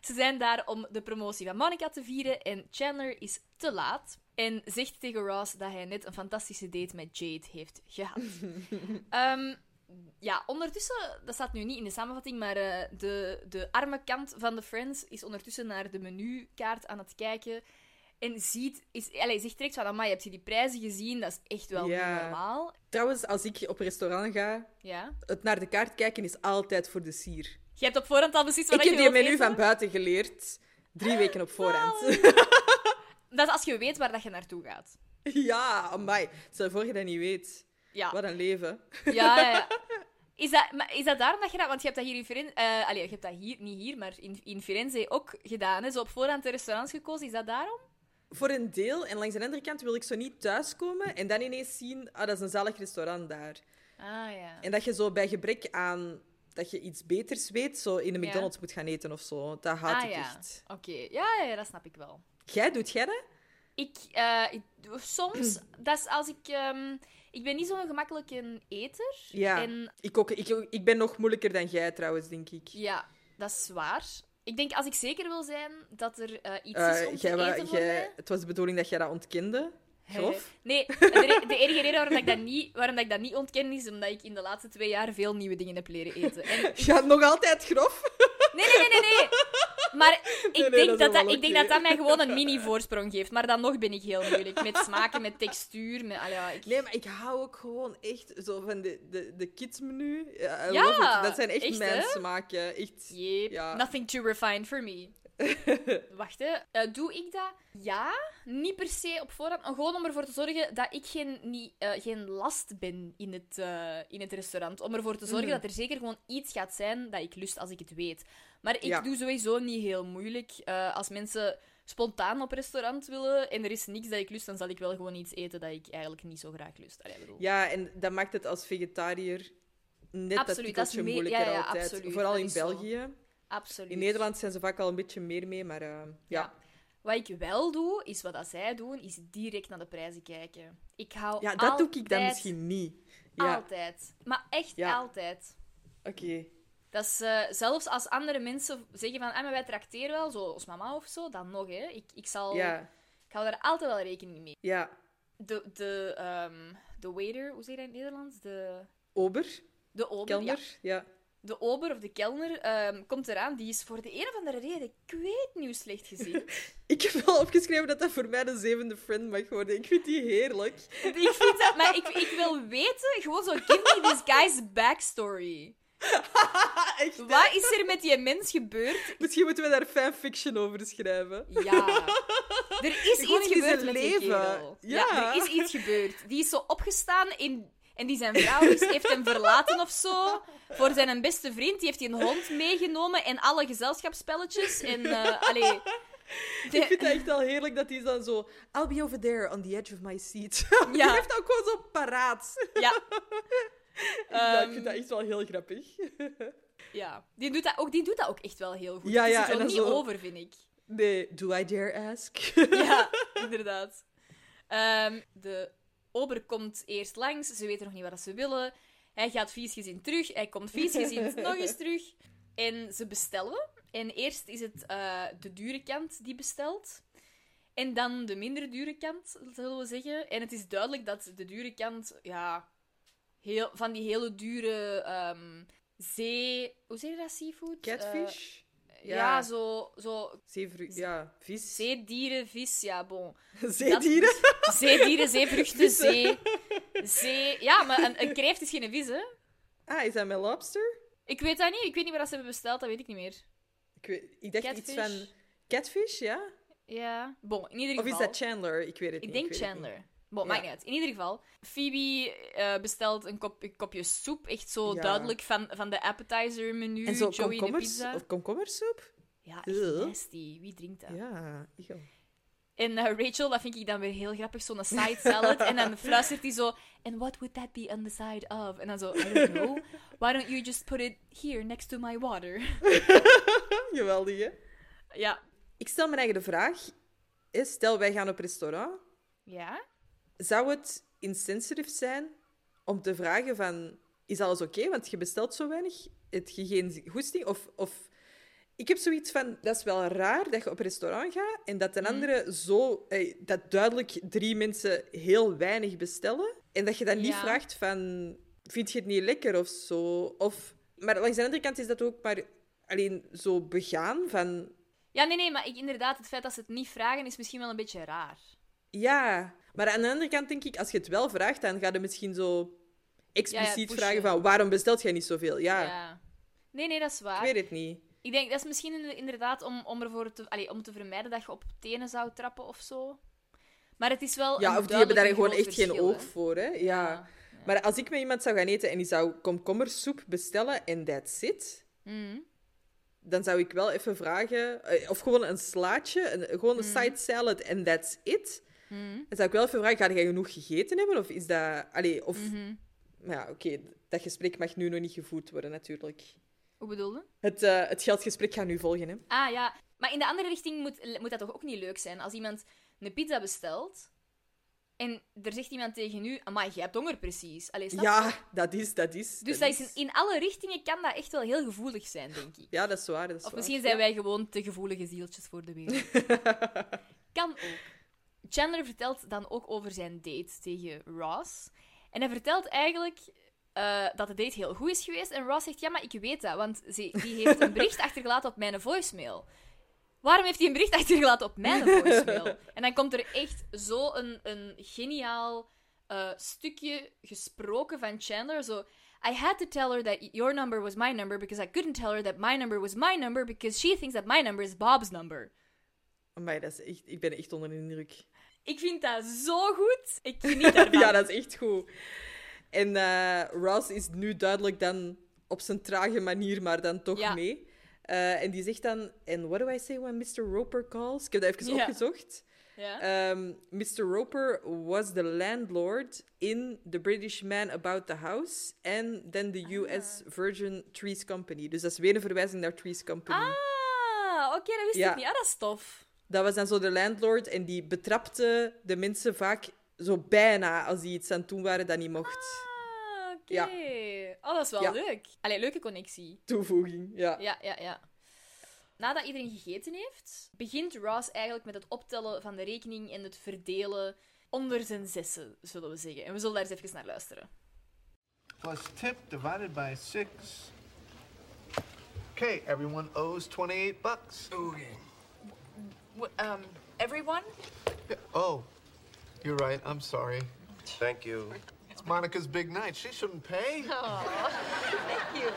Speaker 2: ze zijn daar om de promotie van Monica te vieren. En Chandler is te laat. En zegt tegen Ross dat hij net een fantastische date met Jade heeft gehad. Ehm, ja, ondertussen, dat staat nu niet in de samenvatting, maar eh, de, de arme kant van de Friends is ondertussen naar de menukaart aan het kijken. En ziet, is, allez, zegt direct van, amai, heb je die prijzen gezien? Dat is echt wel
Speaker 1: Ja.
Speaker 2: niet normaal.
Speaker 1: Trouwens, als ik op restaurant ga,
Speaker 2: Ja.
Speaker 1: het naar de kaart kijken is altijd voor de sier.
Speaker 2: Je hebt op voorhand al precies wat
Speaker 1: Ik
Speaker 2: je
Speaker 1: heb die
Speaker 2: wilt
Speaker 1: menu
Speaker 2: eten.
Speaker 1: van buiten geleerd. Drie weken op voorhand.
Speaker 2: Dat is als je weet waar dat je naartoe gaat.
Speaker 1: Ja, amai. Stel je voor je dat niet weet.
Speaker 2: Ja.
Speaker 1: Wat een leven.
Speaker 2: Ja, ja, ja. Is dat, maar is dat daarom dat je dat... Want je hebt dat hier in Firenze... eh allee, je hebt dat hier, niet hier, maar in, in Firenze ook gedaan. Hè? Zo op voorhand de restaurants gekozen. Is dat daarom?
Speaker 1: Voor een deel. En langs de andere kant wil ik zo niet thuiskomen en dan ineens zien, ah, dat is een zalig restaurant daar.
Speaker 2: Ah, ja.
Speaker 1: En dat je zo bij gebrek aan dat je iets beters weet, zo in een
Speaker 2: Ja.
Speaker 1: McDonald's moet gaan eten of zo. Dat haat
Speaker 2: Ah,
Speaker 1: ik
Speaker 2: ja.
Speaker 1: echt.
Speaker 2: Oké. Ja, ja, ja, dat snap ik wel.
Speaker 1: Jij, doet jij dat?
Speaker 2: Ik... eh, ik soms... dat is als ik... ehm, ik ben niet zo'n gemakkelijke eter.
Speaker 1: Ja.
Speaker 2: En
Speaker 1: Ik, ook, ik, ik ben nog moeilijker dan jij trouwens, denk ik.
Speaker 2: ja, dat is waar. Ik denk, als ik zeker wil zijn dat er eh, iets
Speaker 1: Eh,
Speaker 2: is om te
Speaker 1: jij wa-
Speaker 2: eten voor
Speaker 1: jij-
Speaker 2: mij...
Speaker 1: het was de bedoeling dat jij dat ontkende. Grof.
Speaker 2: Nee, de, re- de enige reden waarom, dat ik dat niet, waarom dat ik dat niet ontken is omdat ik in de laatste twee jaar veel nieuwe dingen heb leren eten. En ik-
Speaker 1: Ja, nog altijd grof.
Speaker 2: nee, nee, nee, nee, nee. Maar ik,
Speaker 1: Nee, nee, dat
Speaker 2: denk,
Speaker 1: is
Speaker 2: dat dat,
Speaker 1: helemaal
Speaker 2: ik denk
Speaker 1: oké.
Speaker 2: dat dat mij gewoon een mini-voorsprong geeft. Maar dan nog ben ik heel moeilijk. Met smaken, met textuur. Met, allee, ja, ik,
Speaker 1: Nee, maar ik hou ook gewoon echt zo van de, de, de kidsmenu. Ja, I
Speaker 2: Ja,
Speaker 1: love it. Dat zijn echt,
Speaker 2: echt,
Speaker 1: mijn
Speaker 2: hè?
Speaker 1: smaken. Echt.
Speaker 2: Yep,
Speaker 1: Ja.
Speaker 2: nothing too refined for me. Wacht, hè. Eh, doe ik dat? Ja, niet per se op voorhand. maar Gewoon om ervoor te zorgen dat ik geen, niet, eh, geen last ben in het, eh, in het restaurant. Om ervoor te zorgen
Speaker 1: Mhm.
Speaker 2: dat er zeker gewoon iets gaat zijn dat ik lust als ik het weet. Maar ik
Speaker 1: Ja.
Speaker 2: doe sowieso niet heel moeilijk. Eh, als mensen spontaan op restaurant willen en er is niks dat ik lust, dan zal ik wel gewoon iets eten dat ik eigenlijk niet zo graag lust. Allee, ik bedoel.
Speaker 1: Ja, en dat maakt het als vegetariër net
Speaker 2: Absoluut,
Speaker 1: dat
Speaker 2: dat is
Speaker 1: tikkeltje
Speaker 2: meer-
Speaker 1: moeilijker
Speaker 2: ja, ja,
Speaker 1: altijd.
Speaker 2: absoluut,
Speaker 1: Vooral
Speaker 2: dat
Speaker 1: in
Speaker 2: is zo.
Speaker 1: België.
Speaker 2: Absoluut.
Speaker 1: In Nederland zijn ze vaak al een beetje meer mee, maar eh, ja.
Speaker 2: Wat ik wel doe, is wat dat zij doen, is direct naar de prijzen kijken. Ik hou
Speaker 1: Ja, dat doe ik dan
Speaker 2: altijd-
Speaker 1: misschien niet. Ja,
Speaker 2: Altijd. Maar echt
Speaker 1: Ja.
Speaker 2: altijd.
Speaker 1: oké.
Speaker 2: Dat is, eh, zelfs als andere mensen zeggen van, ah, maar wij tracteren wel, zoals mama of zo, dan nog, hè. Ik, ik, zal,
Speaker 1: Ja,
Speaker 2: ik hou daar altijd wel rekening mee.
Speaker 1: ja.
Speaker 2: De, de, ehm, de waiter, hoe zeg je dat in het Nederlands? De,
Speaker 1: Ober,
Speaker 2: de ober, ja.
Speaker 1: kelner, ja.
Speaker 2: De ober of de kelner ehm, komt eraan. Die is voor de een of andere reden, ik weet niet hoe slecht gezien.
Speaker 1: Ik heb wel opgeschreven dat dat voor mij de zevende friend mag worden. Ik vind die heerlijk.
Speaker 2: ik vind dat, maar ik, ik wil weten, gewoon zo, give me this guy's backstory.
Speaker 1: Echt, hè?
Speaker 2: Wat is er met die mens gebeurd?
Speaker 1: Misschien moeten we daar fanfiction over schrijven.
Speaker 2: Ja. Er is
Speaker 1: Gewoon
Speaker 2: iets
Speaker 1: in zijn
Speaker 2: gebeurd met die
Speaker 1: leven.
Speaker 2: kerel.
Speaker 1: Ja.
Speaker 2: er is iets gebeurd. Die is zo opgestaan in... En die zijn vrouw is, heeft hem verlaten of zo. Voor zijn beste vriend. Die heeft die een hond meegenomen en alle gezelschapsspelletjes. En, eh allee...
Speaker 1: Ik vind het echt al heerlijk dat hij dan zo... I'll be over there on the edge of my seat. Die
Speaker 2: Ja.
Speaker 1: heeft dat ook gewoon zo paraat.
Speaker 2: Ja.
Speaker 1: Ja, ik
Speaker 2: Ehm,
Speaker 1: vind dat echt wel heel grappig.
Speaker 2: ja. Die, doet dat ook, die doet dat ook echt wel heel goed.
Speaker 1: Ja,
Speaker 2: Die
Speaker 1: ja,
Speaker 2: zit er
Speaker 1: en dan
Speaker 2: niet
Speaker 1: zo-
Speaker 2: over, vind ik.
Speaker 1: Nee, do I dare ask?
Speaker 2: Ja, inderdaad. Ehm, de ober komt eerst langs, ze weten nog niet wat ze willen. Hij gaat vies gezien terug, hij komt vies gezien nog eens terug. En ze bestellen. En eerst is het eh, de dure kant die bestelt. En dan de minder dure kant, zullen we zeggen. En het is duidelijk dat de dure kant, ja, heel, van die hele dure ehm, zee... Hoe zeg je dat, seafood?
Speaker 1: Catfish?
Speaker 2: Eh,
Speaker 1: Ja.
Speaker 2: ja, zo, zo
Speaker 1: Zeevru- ja, vis.
Speaker 2: zeedieren, vis, ja, bon.
Speaker 1: Zeedieren?
Speaker 2: Dat- dus Zeedieren, zeevruchten, zee. Zee. Ja, maar een, een kreeft is geen vis, hè?
Speaker 1: Ah, is dat met lobster?
Speaker 2: Ik weet dat niet. Ik weet niet waar dat ze hebben besteld, dat weet ik niet meer.
Speaker 1: Ik, weet, ik dacht
Speaker 2: Catfish.
Speaker 1: iets van... Catfish, ja?
Speaker 2: Ja. Bon, in ieder
Speaker 1: Of
Speaker 2: geval.
Speaker 1: is dat Chandler? Ik weet het
Speaker 2: Ik
Speaker 1: niet.
Speaker 2: denk
Speaker 1: weet het
Speaker 2: Chandler. Bon,
Speaker 1: Ja.
Speaker 2: maakt niet uit. In ieder geval, Phoebe eh, bestelt een, kop, een kopje soep. Echt zo
Speaker 1: Ja.
Speaker 2: duidelijk van, van de appetizer menu.
Speaker 1: niet. En zo
Speaker 2: Joey de
Speaker 1: komkommers,
Speaker 2: pizza.
Speaker 1: of komkommersoep?
Speaker 2: Ja,
Speaker 1: Ugh.
Speaker 2: echt nasty. Wie drinkt dat?
Speaker 1: Ja, eeuw.
Speaker 2: En eh, Rachel, dat vind ik dan weer heel grappig, zo'n side salad. en dan fluistert hij zo, and what would that be on the side of? En dan zo, I don't know. Why don't you just put it here, next to my water?
Speaker 1: Geweldig, hè?
Speaker 2: ja.
Speaker 1: Ik stel Eh, mijn eigen de vraag. Is, stel, wij gaan op restaurant.
Speaker 2: Ja?
Speaker 1: Zou het insensitive zijn om te vragen van... Is alles oké? Want je bestelt zo weinig. Heb je geen goesting? Of, of... Ik heb zoiets van... Dat is wel raar dat je op een restaurant gaat en dat een andere zo... eh, dat duidelijk drie mensen heel weinig bestellen. En dat je dan niet
Speaker 2: Ja.
Speaker 1: vraagt van... Vind je het niet lekker of zo? Of... Maar langs de andere kant is dat ook maar... Alleen zo begaan van...
Speaker 2: Ja, nee, nee, maar ik, inderdaad, het feit dat ze het niet vragen is misschien wel een beetje raar.
Speaker 1: Ja, maar aan de andere kant denk ik, als je het wel vraagt, dan ga je misschien zo
Speaker 2: Ja, ja,
Speaker 1: expliciet
Speaker 2: pushen.
Speaker 1: vragen van waarom bestelt jij niet zoveel? Ja,
Speaker 2: Nee, nee, dat is waar.
Speaker 1: ik weet het niet.
Speaker 2: Ik denk, dat is misschien in- inderdaad om, om ervoor te, allee, om te vermijden dat je op tenen zou trappen of zo. Maar het is wel.
Speaker 1: Ja,
Speaker 2: een
Speaker 1: of die hebben daar
Speaker 2: duidelijk
Speaker 1: gewoon
Speaker 2: groot
Speaker 1: echt geen
Speaker 2: verschil,
Speaker 1: oog
Speaker 2: hè.
Speaker 1: voor, hè? Ja. Maar als ik met iemand zou gaan eten en die zou komkommersoep bestellen en that's it,
Speaker 2: Mhm.
Speaker 1: dan zou ik wel even vragen, eh, of gewoon een slaatje, een, gewoon een
Speaker 2: Mm.
Speaker 1: side salad en that's it. Dan zou ik wel even vragen, ga jij genoeg gegeten hebben? Of is dat... Allee, of...
Speaker 2: Mhm.
Speaker 1: Maar ja, oké, dat gesprek mag nu nog niet gevoerd worden, natuurlijk.
Speaker 2: Hoe bedoel je?
Speaker 1: Het, eh, het geldgesprek gaat nu volgen, hè?
Speaker 2: Ah ja, maar in de andere richting moet, moet dat toch ook niet leuk zijn? Als iemand een pizza bestelt en er zegt iemand tegen u: Amai, jij hebt honger precies. Allee, snap je?
Speaker 1: Ja, dat is, dat is.
Speaker 2: Dus dat is in, in alle richtingen kan dat echt wel heel gevoelig zijn, denk ik.
Speaker 1: Ja, dat is waar. Dat is
Speaker 2: Of
Speaker 1: waar.
Speaker 2: misschien zijn wij gewoon te gevoelige zieltjes voor de wereld. kan ook. Chandler vertelt dan ook over zijn date tegen Ross. En hij vertelt eigenlijk eh, dat de date heel goed is geweest. En Ross zegt, ja, maar ik weet dat, want ze, die heeft een bericht achtergelaten op mijn voicemail. Waarom heeft hij een bericht achtergelaten op mijn voicemail? En dan komt er echt zo'n een, een geniaal eh, stukje gesproken van Chandler. Zo, I had to tell her that your number was my number because I couldn't tell her that my number was my number because she thinks that my number is Bob's number.
Speaker 1: Amai, dat is echt, ik ben echt onder de indruk.
Speaker 2: Ik vind dat zo goed. Ik geniet daarvan.
Speaker 1: ja, dat is echt goed. En eh, Ross is nu duidelijk dan op zijn trage manier, maar dan toch
Speaker 2: Ja.
Speaker 1: mee. Eh, en die zegt dan, and what do I say when Mr. Roper calls? Ik heb dat even
Speaker 2: Ja.
Speaker 1: opgezocht.
Speaker 2: Ja.
Speaker 1: Ehm, Mr. Roper was the landlord in The British Man About the House and then
Speaker 2: Ah.
Speaker 1: the US Virgin Trees Company. Dus dat is weer een verwijzing naar Trees Company.
Speaker 2: Ah, oké, dat wist
Speaker 1: Ja.
Speaker 2: ik niet. Ah, dat is tof.
Speaker 1: Dat was dan zo de landlord en die betrapte de mensen vaak zo bijna als die iets aan het doen waren dat niet mocht.
Speaker 2: Ah, oké.
Speaker 1: Ja.
Speaker 2: Oh, dat is wel
Speaker 1: Ja.
Speaker 2: leuk. Allee, leuke connectie.
Speaker 1: Toevoeging, ja.
Speaker 2: Ja, ja, ja. Nadat iedereen gegeten heeft, begint Ross eigenlijk met het optellen van de rekening en het verdelen onder zijn zessen, zullen we zeggen. En we zullen daar eens even naar luisteren.
Speaker 3: Plus tip divided by six. Okay, everyone owes 28 bucks.
Speaker 4: Okay.
Speaker 8: Um, everyone?
Speaker 3: Yeah, Oh, you're right. I'm sorry.
Speaker 5: Thank you.
Speaker 3: It's Monica's big night. She shouldn't pay.
Speaker 8: Oh, Thank you.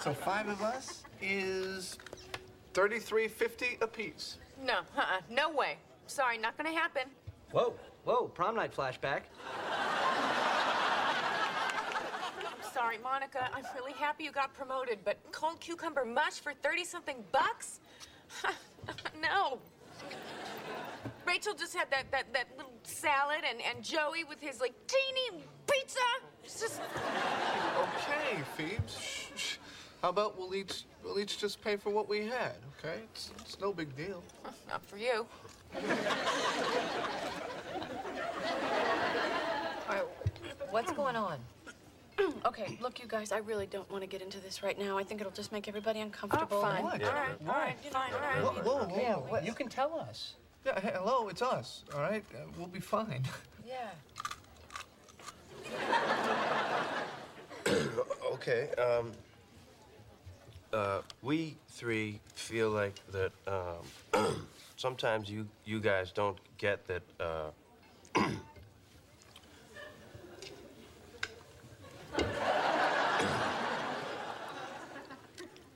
Speaker 3: So five of us is 33.50 apiece.
Speaker 8: No, uh-uh, no way. Sorry, not gonna happen.
Speaker 4: Whoa, whoa, prom night flashback.
Speaker 8: Sorry, Monica. I'm really happy you got promoted, but cold cucumber mush for 30 something bucks? no. Rachel just had that, that, that little salad, and, and Joey with his like teeny pizza. It's just.
Speaker 3: Okay, Phoebes. Shh, shh. How about we'll each we'll each just pay for what we had? Okay, it's, it's no big deal.
Speaker 8: Not for you.
Speaker 9: What's going on?
Speaker 7: Okay, look, you guys, I really don't want to get into this right now. I think it'll just make everybody
Speaker 8: Oh,
Speaker 7: uncomfortable.
Speaker 8: fine.
Speaker 3: What?
Speaker 8: All right, all right, fine, all right.
Speaker 3: Whoa, whoa, whoa.
Speaker 9: Yeah, what?
Speaker 4: You can tell us.
Speaker 3: Yeah, he- hello, it's us. All right, uh, we'll be fine.
Speaker 9: Yeah.
Speaker 5: Okay, um, uh, we three feel like that, um, sometimes you, you guys don't get that, uh,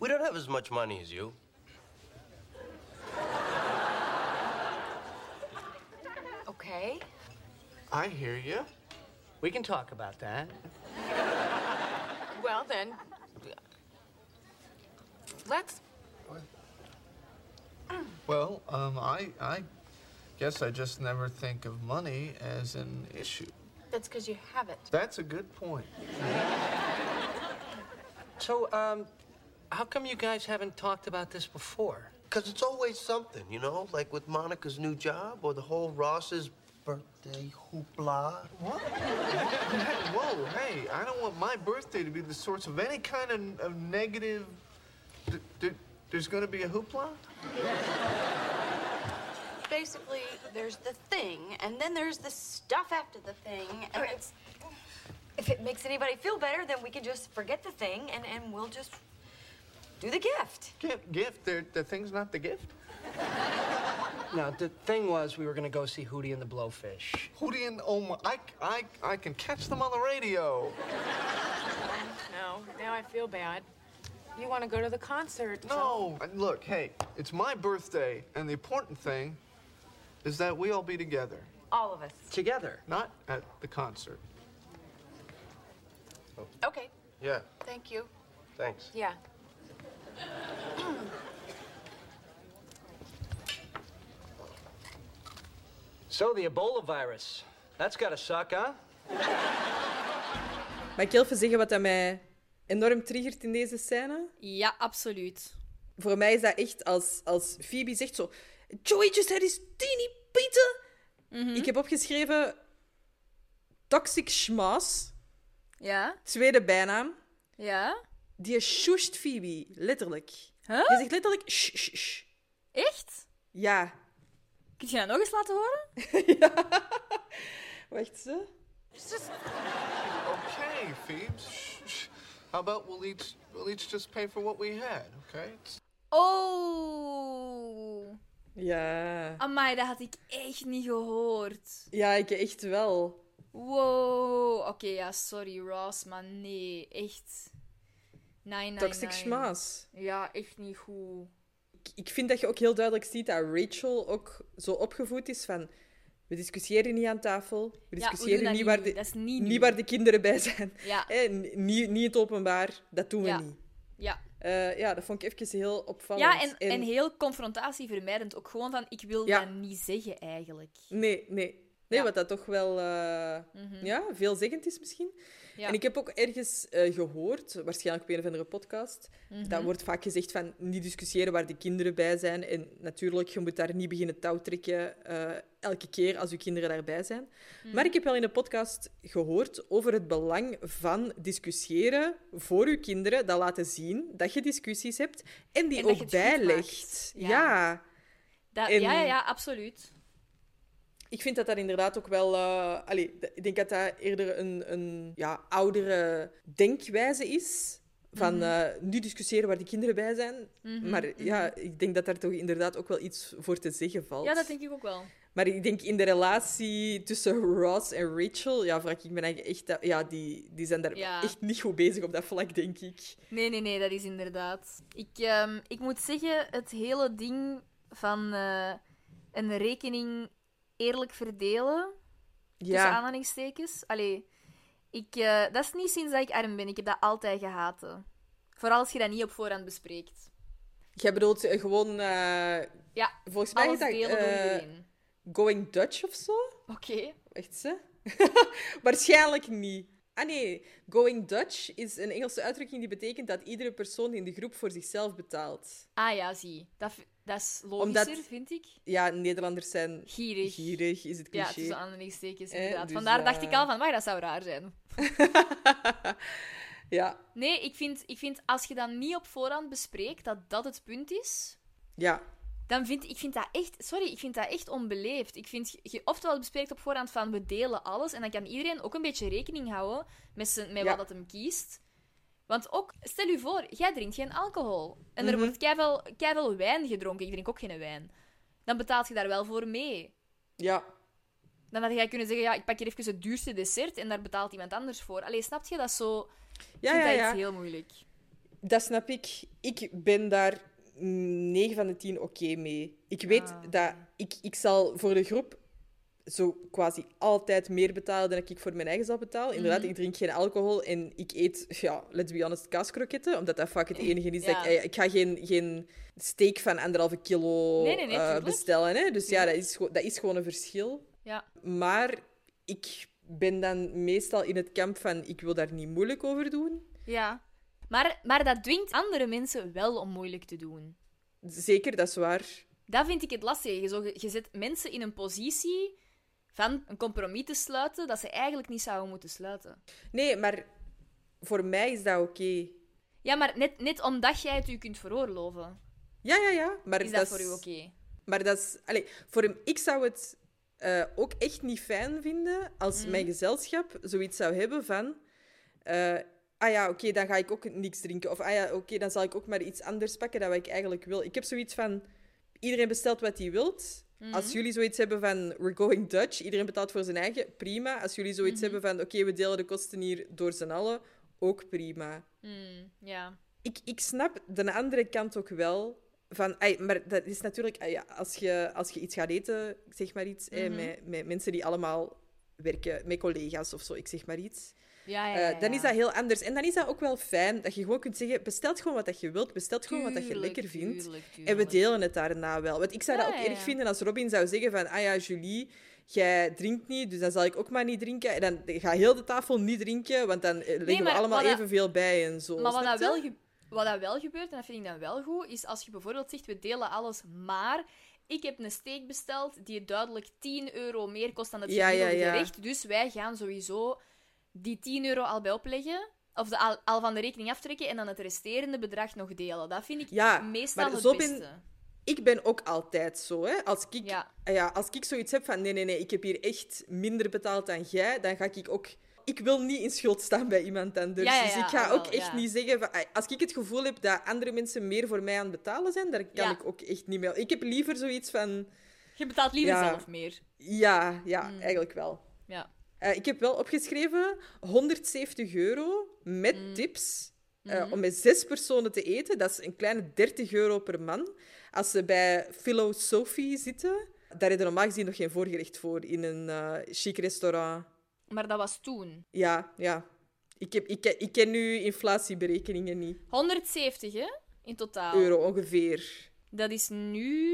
Speaker 5: we don't have as much money as you.
Speaker 9: Okay.
Speaker 3: I hear you.
Speaker 4: We can talk about that.
Speaker 8: Well, then. Let's.
Speaker 3: Well, um, I I guess I just never think of money as an issue.
Speaker 7: That's because you have it.
Speaker 3: That's a good point.
Speaker 4: So, um, how come you guys haven't talked about this before?
Speaker 5: Because it's always something, you know, like with Monica's new job or the whole Ross's
Speaker 10: birthday hoopla.
Speaker 3: What? Hey, whoa, hey, I don't want my birthday to be the source of any kind of, of negative. Th- th- there's gonna be a hoopla?
Speaker 7: Basically, there's the thing, and then there's the stuff after the thing, and it's.
Speaker 9: If it makes anybody feel better, then we can just forget the thing and, and we'll just do the gift.
Speaker 3: Gift, gift, the, the thing's not the gift?
Speaker 4: Now, the thing was, we were gonna go see Hootie and the Blowfish.
Speaker 3: Hootie and oh my, I, I, I can catch them on the radio.
Speaker 8: No, now I feel bad. You want to go to the concert? so-
Speaker 3: No, and look, hey, it's my birthday, and the important thing is that we all be together,
Speaker 9: All of us.
Speaker 4: Together.
Speaker 3: not at the concert.
Speaker 8: Okay,
Speaker 5: Yeah,
Speaker 8: thank you.
Speaker 5: thanks.
Speaker 8: Yeah.
Speaker 4: So, the Ebola virus. That's gotta suck, huh?
Speaker 1: Mag ik heel even zeggen wat dat mij enorm triggert in deze scène?
Speaker 2: Ja, absoluut.
Speaker 1: Voor mij is dat echt als, als Phoebe zegt zo... Joey just had his teeny pizza. Ik heb opgeschreven... Toxic Schmaas,
Speaker 2: Ja?
Speaker 1: tweede bijnaam.
Speaker 2: Ja?
Speaker 1: Die shoesht Phoebe, letterlijk.
Speaker 2: Huh?
Speaker 1: Die zegt letterlijk... "Sh, sh, sh."
Speaker 2: Echt?
Speaker 1: Ja.
Speaker 2: Kun je dat nog eens laten horen?
Speaker 1: Wacht, ze.
Speaker 3: Okay, Phoebes. Shh, shh. How about we'll each we'll each just pay for what we had, okay? It's-
Speaker 2: Oh.
Speaker 1: Ja.
Speaker 2: Amai, dat had ik echt niet gehoord.
Speaker 1: Ja, ik echt wel.
Speaker 2: Wow. Oké, ja, sorry Ross, maar nee, echt. Nee, nee,
Speaker 1: Toxic
Speaker 2: nee.
Speaker 1: Schmaas.
Speaker 2: Ja, echt niet goed.
Speaker 1: ik vind dat je ook heel duidelijk ziet dat Rachel ook zo opgevoed is van... We discussiëren niet aan tafel. We
Speaker 2: Ja, we
Speaker 1: discussiëren
Speaker 2: doen dat
Speaker 1: niet,
Speaker 2: niet
Speaker 1: waar
Speaker 2: nu.
Speaker 1: de,
Speaker 2: Dat is niet nu.
Speaker 1: niet waar de kinderen bij zijn.
Speaker 2: Ja.
Speaker 1: Hè, n- niet, niet het openbaar. Dat doen we
Speaker 2: Ja.
Speaker 1: niet.
Speaker 2: Ja,
Speaker 1: Eh, ja, dat vond ik even heel opvallend.
Speaker 2: ja en, en... heel confrontatievermijdend. Ook gewoon van, ik wil
Speaker 1: Ja.
Speaker 2: dat niet zeggen eigenlijk.
Speaker 1: Nee, nee. Nee,
Speaker 2: Ja. Mhm.
Speaker 1: wat dat toch wel eh, ja, veelzeggend is misschien.
Speaker 2: Ja.
Speaker 1: En ik heb ook ergens eh, gehoord, waarschijnlijk op een of andere podcast,
Speaker 2: Mhm.
Speaker 1: dat wordt vaak gezegd van niet discussiëren waar de kinderen bij zijn. En natuurlijk, je moet daar niet beginnen touwtrekken eh, elke keer als je kinderen daarbij zijn.
Speaker 2: Mhm.
Speaker 1: Maar ik heb wel in een podcast gehoord over het belang van discussiëren voor je kinderen. Dat laten zien dat je discussies hebt en die
Speaker 2: En dat je
Speaker 1: ook
Speaker 2: het goed maakt.
Speaker 1: bijlegt.
Speaker 2: Ja.
Speaker 1: ja.
Speaker 2: Dat,
Speaker 1: En-
Speaker 2: Ja, ja, ja, absoluut.
Speaker 1: Ik vind dat dat inderdaad ook wel... eh, allee, d- ik denk dat dat eerder een, een ja, oudere denkwijze is. Van
Speaker 2: Mhm.
Speaker 1: eh, nu discussiëren waar de kinderen bij zijn. Maar ja, ik denk dat daar toch inderdaad ook wel iets voor te zeggen valt.
Speaker 2: Ja, dat denk ik ook wel.
Speaker 1: Maar ik denk in de relatie tussen Ross en Rachel... Ja, vraag ik me eigenlijk echt... dat- Ja, die, die zijn daar
Speaker 2: Ja.
Speaker 1: echt niet goed bezig op dat vlak, denk ik.
Speaker 2: Nee, nee, nee, dat is inderdaad. Ik, ehm, ik moet zeggen, het hele ding van eh, een rekening eerlijk verdelen, tussen
Speaker 1: Ja,
Speaker 2: aanhalingstekens. Allee, ik, eh, dat is niet sinds dat ik arm ben. Ik heb dat altijd gehaat. hè. Vooral als je dat niet op voorhand bespreekt.
Speaker 1: jij bedoelt eh, gewoon... eh,
Speaker 2: Ja,
Speaker 1: volgens mij
Speaker 2: alles
Speaker 1: is dat
Speaker 2: delen door
Speaker 1: eh,
Speaker 2: iedereen.
Speaker 1: Going Dutch of zo?
Speaker 2: Oké.
Speaker 1: Echt ze? Waarschijnlijk niet. Ah nee, going Dutch is een Engelse uitdrukking die betekent dat iedere persoon in de groep voor zichzelf betaalt.
Speaker 2: Ah ja, zie. Dat, v- dat is
Speaker 1: Omdat-
Speaker 2: logischer, vind ik.
Speaker 1: Ja, Nederlanders zijn
Speaker 2: Gierig.
Speaker 1: gierig, is het
Speaker 2: Ja,
Speaker 1: cliché.
Speaker 2: tussen aanhalingstekens,
Speaker 1: Eh,
Speaker 2: inderdaad.
Speaker 1: dus,
Speaker 2: Vandaar dacht
Speaker 1: eh,
Speaker 2: ik al van, maar dat zou raar zijn.
Speaker 1: ja,
Speaker 2: Nee, ik vind, ik vind als je dat niet op voorhand bespreekt, dat dat het punt is,
Speaker 1: ja,
Speaker 2: dan vind ik vind dat echt, sorry, ik vind dat echt onbeleefd. Ik vind, je oftewel bespreekt op voorhand van, we delen alles, en dan kan iedereen ook een beetje rekening houden met, zijn, met
Speaker 1: Ja.
Speaker 2: wat dat hem kiest. Want ook, stel je voor, jij drinkt geen alcohol. En
Speaker 1: Mhm.
Speaker 2: er wordt keivel, keivel wijn gedronken. Ik drink ook geen wijn. Dan betaalt je daar wel voor mee.
Speaker 1: ja.
Speaker 2: Dan had jij kunnen zeggen, ja, ik pak hier even het duurste dessert en daar betaalt iemand anders voor. Allee, snap je? Dat is zo... Ik
Speaker 1: Ja,
Speaker 2: vind
Speaker 1: ja,
Speaker 2: dat
Speaker 1: ja.
Speaker 2: iets heel moeilijk.
Speaker 1: Dat snap ik. Ik ben daar 9 van de 10 oké mee. Ik weet
Speaker 2: Ah.
Speaker 1: dat ik, ik zal voor de groep zo quasi altijd meer betalen dan ik voor mijn eigen zal betalen. Inderdaad,
Speaker 2: Mhm.
Speaker 1: ik drink geen alcohol en ik eet, ja, let's be honest, kaaskroketten. Omdat dat vaak het enige is.
Speaker 2: Ja.
Speaker 1: Dat ik, ik ga geen, geen steak van anderhalve kilo
Speaker 2: Nee, nee, nee,
Speaker 1: eh,
Speaker 2: tuurlijk.
Speaker 1: bestellen. Hè? Dus ja, dat is, gewoon- dat is gewoon een verschil.
Speaker 2: Ja.
Speaker 1: Maar ik ben dan meestal in het kamp van ik wil daar niet moeilijk over doen.
Speaker 2: Ja. Maar, maar dat dwingt andere mensen wel om moeilijk te doen.
Speaker 1: Zeker, dat is waar.
Speaker 2: Dat vind ik het lastige. Je, zo, je zet mensen in een positie van een compromis te sluiten dat ze eigenlijk niet zouden moeten sluiten.
Speaker 1: Nee, maar voor mij is dat oké.
Speaker 2: Ja, maar net, net omdat jij het u kunt veroorloven,
Speaker 1: Ja, ja, ja. Maar
Speaker 2: is dat, voor u oké.
Speaker 1: Maar dat is... Allee, voor hem, ik zou het eh, ook echt niet fijn vinden als
Speaker 2: Mhm.
Speaker 1: mijn gezelschap zoiets zou hebben van... eh, ah ja, oké, dan ga ik ook niks drinken. Of ah ja, oké, dan zal ik ook maar iets anders pakken dan wat ik eigenlijk wil. Ik heb zoiets van... Iedereen bestelt wat hij wilt. Als
Speaker 2: Mhm.
Speaker 1: jullie zoiets hebben van we're going Dutch, iedereen betaalt voor zijn eigen, prima. Als jullie zoiets
Speaker 2: Mhm.
Speaker 1: hebben van oké, we delen de kosten hier door z'n allen, ook prima
Speaker 2: Hmm, ja.
Speaker 1: ik, ik snap de andere kant ook wel. Van, ai, maar dat is natuurlijk, ai, ja, als, je, als je iets gaat eten, ik zeg maar iets, eh,
Speaker 2: Mhm.
Speaker 1: met, met mensen die allemaal werken, met collega's of zo, ik zeg maar iets.
Speaker 2: Ja, ja, ja,
Speaker 1: Eh, dan is
Speaker 2: ja.
Speaker 1: dat heel anders. En dan is dat ook wel fijn dat je gewoon kunt zeggen: bestelt gewoon wat dat je wilt, bestelt gewoon wat dat je
Speaker 2: Tuurlijk,
Speaker 1: lekker vindt.
Speaker 2: tuurlijk,
Speaker 1: En we
Speaker 2: tuurlijk.
Speaker 1: delen het daarna wel. Want ik zou dat
Speaker 2: Ja,
Speaker 1: ook
Speaker 2: ja,
Speaker 1: erg
Speaker 2: ja.
Speaker 1: vinden als Robin zou zeggen: van ah ja, Julie. Jij drinkt niet, dus dan zal ik ook maar niet drinken. En dan ga heel de tafel niet drinken, want dan eh, leggen we
Speaker 2: maar
Speaker 1: allemaal
Speaker 2: wat dat-
Speaker 1: evenveel bij en zo.
Speaker 2: Maar wat
Speaker 1: Snap
Speaker 2: dat,
Speaker 1: je?
Speaker 2: wel ge- wat dat wel gebeurt, en dat vind ik dan wel goed, is als je bijvoorbeeld zegt, we delen alles, maar ik heb een steak besteld die duidelijk 10 euro meer kost dan het
Speaker 1: Ja, ja,
Speaker 2: gemiddelde
Speaker 1: ja.
Speaker 2: gerecht. Dus wij gaan sowieso die 10 euro al bij opleggen, of de, al, al van de rekening aftrekken, en dan het resterende bedrag nog delen. Dat vind ik
Speaker 1: Ja,
Speaker 2: meestal
Speaker 1: maar
Speaker 2: het
Speaker 1: zo ben-
Speaker 2: beste.
Speaker 1: ik ben ook altijd zo. Hè? Als, ik,
Speaker 2: Ja.
Speaker 1: ja. als ik zoiets heb van nee, nee, nee, ik heb hier echt minder betaald dan jij, dan ga ik ook. Ik wil niet in schuld staan bij iemand anders.
Speaker 2: Ja, ja,
Speaker 1: dus
Speaker 2: ja,
Speaker 1: ik ga
Speaker 2: ah, wel,
Speaker 1: ook echt
Speaker 2: ja.
Speaker 1: niet zeggen. Van, als ik het gevoel heb dat andere mensen meer voor mij aan het betalen zijn, dan kan
Speaker 2: Ja.
Speaker 1: ik ook echt niet meer. Ik heb liever zoiets van.
Speaker 2: Je betaalt liever
Speaker 1: Ja.
Speaker 2: zelf meer.
Speaker 1: Ja, ja
Speaker 2: Hmm.
Speaker 1: eigenlijk wel.
Speaker 2: Ja.
Speaker 1: Eh, ik heb wel opgeschreven 170 euro met tips. eh,
Speaker 2: Mhm.
Speaker 1: Om met zes personen te eten, dat is een kleine 30 euro per man. Als ze bij Philo Sophie zitten, daar hebben normaal gezien nog geen voorgerecht voor in een eh chic restaurant.
Speaker 2: Maar dat was toen.
Speaker 1: Ja, ja. Ik, heb, ik, ik ken nu inflatieberekeningen niet.
Speaker 2: 170, hè? In totaal.
Speaker 1: Euro ongeveer.
Speaker 2: Dat is nu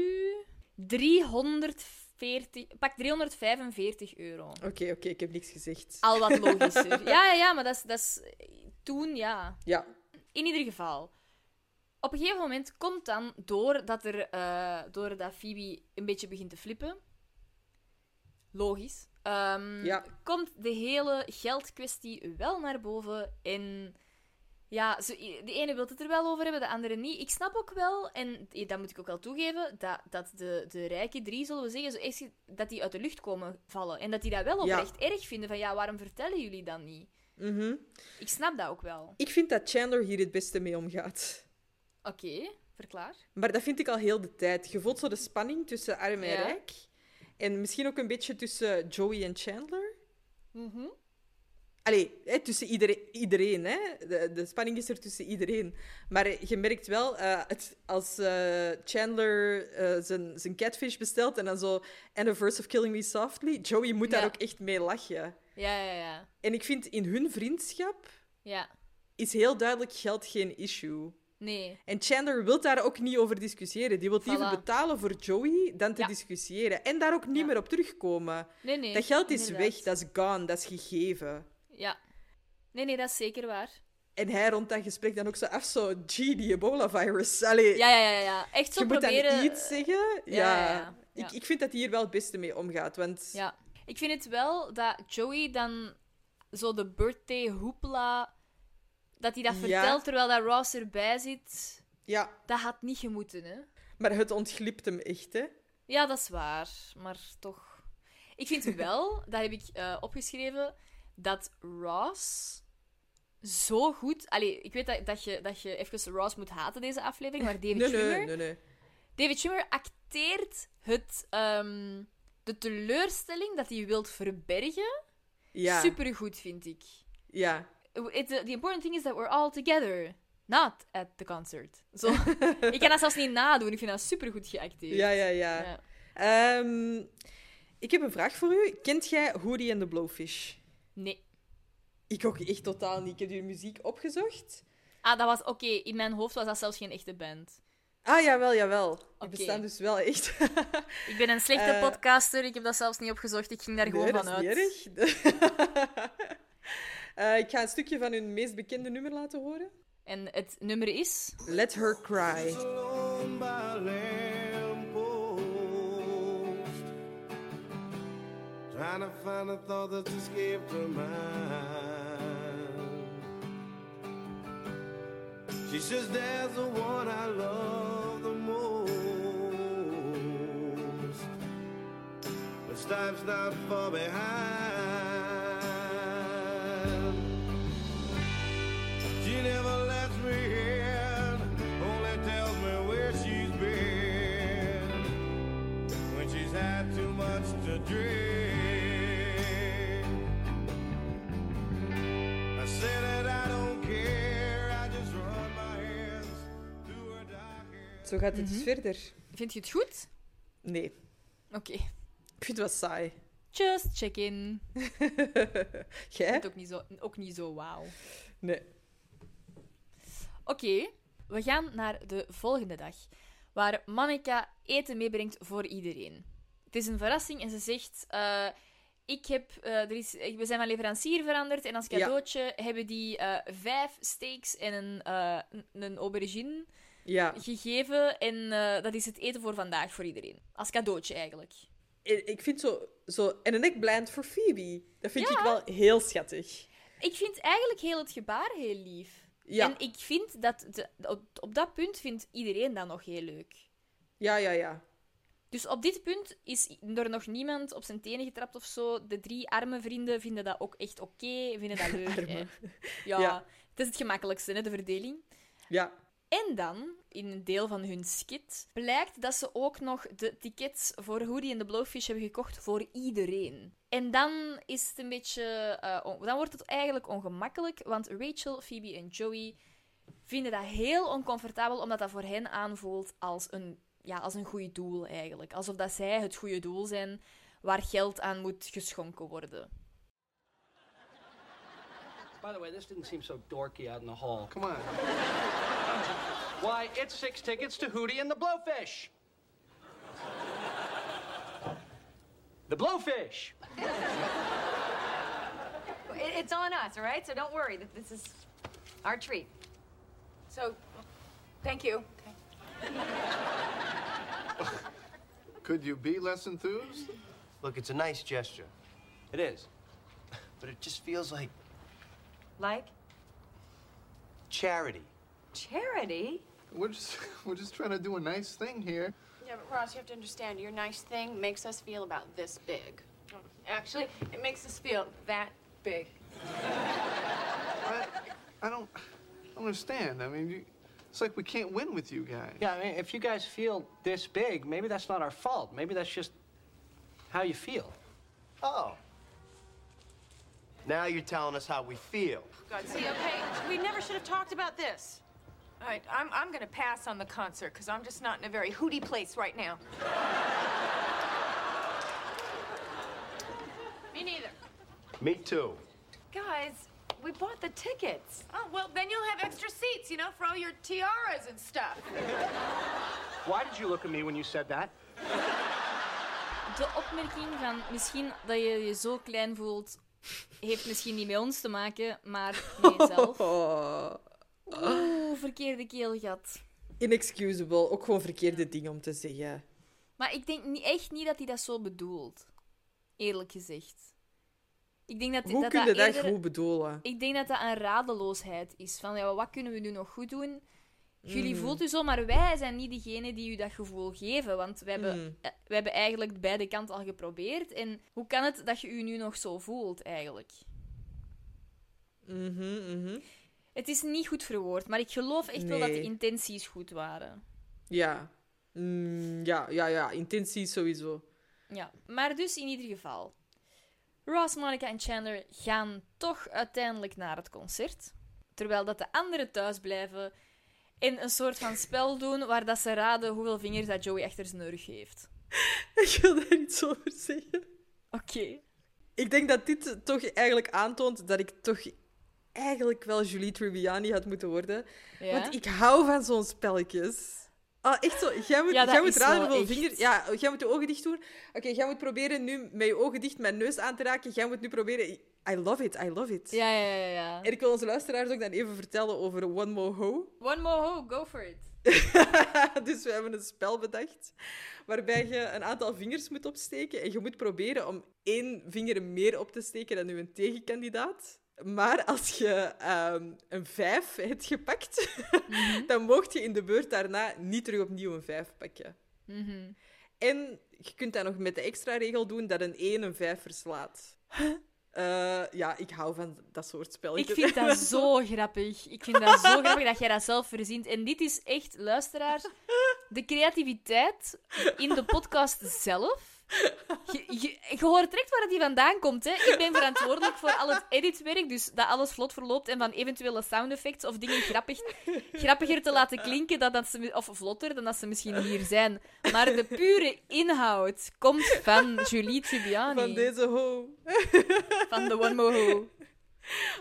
Speaker 2: 340, pak 345 euro.
Speaker 1: Oké, oké, ik heb niks gezegd.
Speaker 2: Al wat logischer. ja, ja, ja, maar dat is, dat is toen ja.
Speaker 1: Ja.
Speaker 2: In ieder geval, op een gegeven moment komt dan doordat er, eh doordat Phoebe een beetje begint te flippen. Logisch. Ehm,
Speaker 1: Ja.
Speaker 2: Komt de hele geldkwestie wel naar boven en ja, zo- de ene wil het er wel over hebben, de andere niet. Ik snap ook wel, en dat moet ik ook wel toegeven, dat, dat de, de rijke drie, zullen we zeggen, zo echt, dat die uit de lucht komen vallen. En dat die dat wel
Speaker 1: Ja.
Speaker 2: oprecht erg vinden, van ja, waarom vertellen jullie dat niet?
Speaker 1: Mhm.
Speaker 2: Ik snap dat ook wel.
Speaker 1: Ik vind dat Chandler hier het beste mee omgaat.
Speaker 2: Oké, verklaar.
Speaker 1: Maar dat vind ik al heel de tijd. Je voelt zo de spanning tussen arm en
Speaker 2: Ja.
Speaker 1: rijk. En misschien ook een beetje tussen Joey en Chandler.
Speaker 2: Mhm.
Speaker 1: Allee, hè, tussen iedereen. iedereen hè? De, de spanning is er tussen iedereen. Maar eh, je merkt wel, eh, het, als eh, Chandler eh, zijn, zijn catfish bestelt en dan zo... And a verse of Killing Me Softly. Joey moet daar
Speaker 2: Ja.
Speaker 1: ook echt mee lachen.
Speaker 2: Ja, ja, ja.
Speaker 1: En ik vind in hun vriendschap
Speaker 2: Ja,
Speaker 1: is heel duidelijk geld geen issue.
Speaker 2: nee.
Speaker 1: En Chandler wil daar ook niet over discussiëren. Die wil liever
Speaker 2: Voilà.
Speaker 1: betalen voor Joey dan te discussiëren. En daar ook niet meer op terugkomen.
Speaker 2: Nee, nee,
Speaker 1: dat geld is
Speaker 2: inderdaad.
Speaker 1: weg, dat is gone, dat is gegeven.
Speaker 2: Ja. Nee, nee, dat is zeker waar.
Speaker 1: En hij rond dat gesprek dan ook zo af, zo, gee, die ebola-virus. Allee,
Speaker 2: Ja, ja, ja, ja. Echt zo
Speaker 1: je moet
Speaker 2: proberen...
Speaker 1: dan iets zeggen. Ja,
Speaker 2: ja, ja, ja.
Speaker 1: Ik, ik vind dat hij hier wel het beste mee omgaat. Want
Speaker 2: Ja. Ik vind het wel dat Joey dan zo de birthday hoopla... Dat hij dat
Speaker 1: Ja.
Speaker 2: vertelt terwijl dat Ross erbij zit.
Speaker 1: Ja.
Speaker 2: Dat had niet gemoeten, hè.
Speaker 1: Maar het ontglipt hem echt, hè.
Speaker 2: Ja, dat is waar. Maar toch... Ik vind wel, dat heb ik eh, opgeschreven, dat Ross zo goed... Allee, ik weet dat, dat, je, dat je even Ross moet haten deze aflevering, maar David
Speaker 1: nee,
Speaker 2: Schwimmer...
Speaker 1: nee, nee, nee.
Speaker 2: David Schwimmer acteert het, ehm, de teleurstelling dat hij wilt verbergen
Speaker 1: Ja.
Speaker 2: supergoed, vind ik.
Speaker 1: Ja.
Speaker 2: It- the, the important thing is that we're all together. Not at the concert. Zo. ik kan dat zelfs niet nadoen. Ik vind dat supergoed geacteerd.
Speaker 1: Ja, ja, ja. Ehm, ik heb een vraag voor u. Kent jij Hootie en de Blowfish?
Speaker 2: Nee.
Speaker 1: Ik ook echt totaal niet. Ik heb die muziek opgezocht.
Speaker 2: Ah, dat was oké. In mijn hoofd was dat zelfs geen echte band.
Speaker 1: Ah, jawel, jawel. Die
Speaker 2: Oké.
Speaker 1: bestaan dus wel echt.
Speaker 2: Ik ben een slechte
Speaker 1: Eh.
Speaker 2: podcaster. Ik heb dat zelfs niet opgezocht. Ik ging daar gewoon
Speaker 1: Nee, dat
Speaker 2: van
Speaker 1: is
Speaker 2: uit.
Speaker 1: niet erg. Eh, ik ga een stukje van hun meest bekende nummer laten horen.
Speaker 2: En het nummer is?
Speaker 1: Let Her Cry.
Speaker 11: by a lamppost. trying to find a thought that escaped her mind. She says there's the one I love the most, but stops not far behind. She never lets me in, only tells me where she's been when she's had too much to drink. I said that I don't care, I just run my hands.
Speaker 1: Zo gaat het
Speaker 2: Mhm.
Speaker 1: dus verder.
Speaker 2: Vind je het goed?
Speaker 1: Nee,
Speaker 2: Oké.
Speaker 1: ik vind het wel saai.
Speaker 2: Just check-in.
Speaker 1: Jij?
Speaker 2: Ik vind het ook niet zo, ook niet zo wauw.
Speaker 1: Nee.
Speaker 2: Oké, we gaan naar de volgende dag, waar Manika eten meebrengt voor iedereen. Het is een verrassing en ze zegt: eh, ik heb, eh, er is, ik- We zijn van leverancier veranderd en als
Speaker 1: Ja.
Speaker 2: cadeautje hebben die eh, vijf steaks en een, eh, een- een aubergine
Speaker 1: Ja.
Speaker 2: gegeven. En eh, dat is het eten voor vandaag voor iedereen. Als cadeautje eigenlijk.
Speaker 1: Eh, Ik ik vind zo, zo en een nekblind voor Phoebe. Dat vind ik wel heel schattig.
Speaker 2: Ik vind eigenlijk heel het gebaar heel lief.
Speaker 1: Ja.
Speaker 2: En ik vind dat de- op, op dat punt vindt iedereen dat nog heel leuk.
Speaker 1: Ja, ja, ja.
Speaker 2: Dus op dit punt is er nog niemand op zijn tenen getrapt of zo. De drie arme vrienden vinden dat ook echt oké, vinden dat leuk.
Speaker 1: Arme.
Speaker 2: hè. Ja,
Speaker 1: Ja.
Speaker 2: het is het gemakkelijkste, hè, de verdeling.
Speaker 1: Ja.
Speaker 2: En dan, in een deel van hun skit, blijkt dat ze ook nog de tickets voor Hoodie en de Blowfish hebben gekocht voor iedereen. En dan is het een beetje... eh, on- dan wordt het eigenlijk ongemakkelijk, want Rachel, Phoebe en Joey vinden dat heel oncomfortabel, omdat dat voor hen aanvoelt als een, ja, als een goed doel eigenlijk. Alsof dat zij het goede doel zijn waar geld aan moet geschonken worden.
Speaker 4: By the way, this didn't seem so dorky out in the hall. Come on. Why, it's six tickets to Hootie and the Blowfish. The Blowfish.
Speaker 9: It- it's on us, all right? So don't worry. Th- This is our treat.
Speaker 8: So, thank you.
Speaker 3: Could you be less enthused?
Speaker 5: Look, it's a nice gesture. It is. But it just feels like
Speaker 9: Like
Speaker 5: charity.
Speaker 9: charity.
Speaker 3: We're just we're just trying to do a nice thing here.
Speaker 7: Yeah, but Ross, you have to understand, your nice thing makes us feel about this big.
Speaker 8: Actually, it makes us feel that big.
Speaker 3: I, I don't I don't understand. I mean, you, it's like we can't win with you guys.
Speaker 4: Yeah, I mean, if you guys feel this big, maybe that's not our fault. Maybe that's just how you feel.
Speaker 5: Oh. Now you're telling us how we feel.
Speaker 8: God, see, okay, we never should have talked about this. All right, I'm, I'm gonna pass on the concert because I'm just not in a very hooty place right now.
Speaker 9: Me neither.
Speaker 5: Me too.
Speaker 9: Guys, we bought the tickets.
Speaker 8: Oh, well, then you'll have extra seats, you know, for all your tiaras and stuff.
Speaker 4: Why did you look at me when you said that?
Speaker 2: De opmerking van misschien dat je je zo klein voelt, heeft misschien niet met ons te maken, maar met jezelf. Oeh, verkeerde keelgat.
Speaker 1: Inexcusable. Ook gewoon verkeerde dingen om te zeggen.
Speaker 2: Maar ik denk niet, echt niet dat hij dat zo bedoelt. Eerlijk gezegd. Ik denk dat,
Speaker 1: Hoe
Speaker 2: dat,
Speaker 1: kun je
Speaker 2: dat,
Speaker 1: dat
Speaker 2: eerder-
Speaker 1: goed bedoelen?
Speaker 2: Ik denk dat dat een radeloosheid is. Van, ja, wat kunnen we nu nog goed doen? Jullie
Speaker 1: Mm.
Speaker 2: voelt u zo, maar wij zijn niet degene die u dat gevoel geven. Want we hebben,
Speaker 1: Mm.
Speaker 2: eh, we hebben eigenlijk beide kanten al geprobeerd. En hoe kan het dat je u nu nog zo voelt, eigenlijk?
Speaker 1: Mhm, mhm.
Speaker 2: Het is niet goed verwoord, maar ik geloof echt wel dat de
Speaker 1: Nee.
Speaker 2: intenties goed waren.
Speaker 1: Ja. Mm, ja, ja, ja. Intentie sowieso.
Speaker 2: Ja. Maar dus in ieder geval. Ross, Monica en Chandler gaan toch uiteindelijk naar het concert. Terwijl dat de anderen thuis blijven en een soort van spel doen waar dat ze raden hoeveel vingers dat Joey achter zijn rug heeft.
Speaker 1: Ik wil daar iets over zeggen.
Speaker 2: Oké.
Speaker 1: Ik denk dat dit toch eigenlijk aantoont dat ik toch eigenlijk wel Julie Tribbiani had moeten worden.
Speaker 2: Ja.
Speaker 1: Want ik hou van zo'n spelletjes. Ah, echt zo. Jij moet,
Speaker 2: Ja, dat
Speaker 1: jij moet
Speaker 2: is
Speaker 1: raden
Speaker 2: wel
Speaker 1: hoeveel
Speaker 2: echt.
Speaker 1: vingers... Ja, jij moet je ogen dicht doen. Oké, jij moet proberen nu met je ogen dicht mijn neus aan te raken. Jij moet nu proberen... I love it, I love it.
Speaker 2: Ja, ja, ja, ja.
Speaker 1: En ik wil onze luisteraars ook dan even vertellen over One More Ho.
Speaker 2: One more ho, go for it.
Speaker 1: dus we hebben een spel bedacht waarbij je een aantal vingers moet opsteken en je moet proberen om één vinger meer op te steken dan uw tegenkandidaat. Maar als je ehm, een vijf hebt gepakt,
Speaker 2: Mhm.
Speaker 1: dan mocht je in de beurt daarna niet terug opnieuw een vijf pakken.
Speaker 2: Mhm.
Speaker 1: En je kunt dat nog met de extra regel doen dat een 1 een 5 verslaat. Eh, ja, ik hou van dat soort
Speaker 2: Ik
Speaker 1: spelletjes.
Speaker 2: vind dat zo grappig. Ik vind dat zo grappig dat jij dat zelf verzint. En dit is echt, luisteraar, de creativiteit in de podcast zelf. Je, je, je hoort direct waar die vandaan komt. Hè. Ik ben verantwoordelijk voor al het editwerk, dus dat alles vlot verloopt en van eventuele sound effects of dingen grappig, grappiger te laten klinken dan dat ze, mi- of vlotter dan dat ze misschien hier zijn. Maar de pure inhoud komt van Julie Tribbiani.
Speaker 1: Van deze ho.
Speaker 2: Van de One More Ho.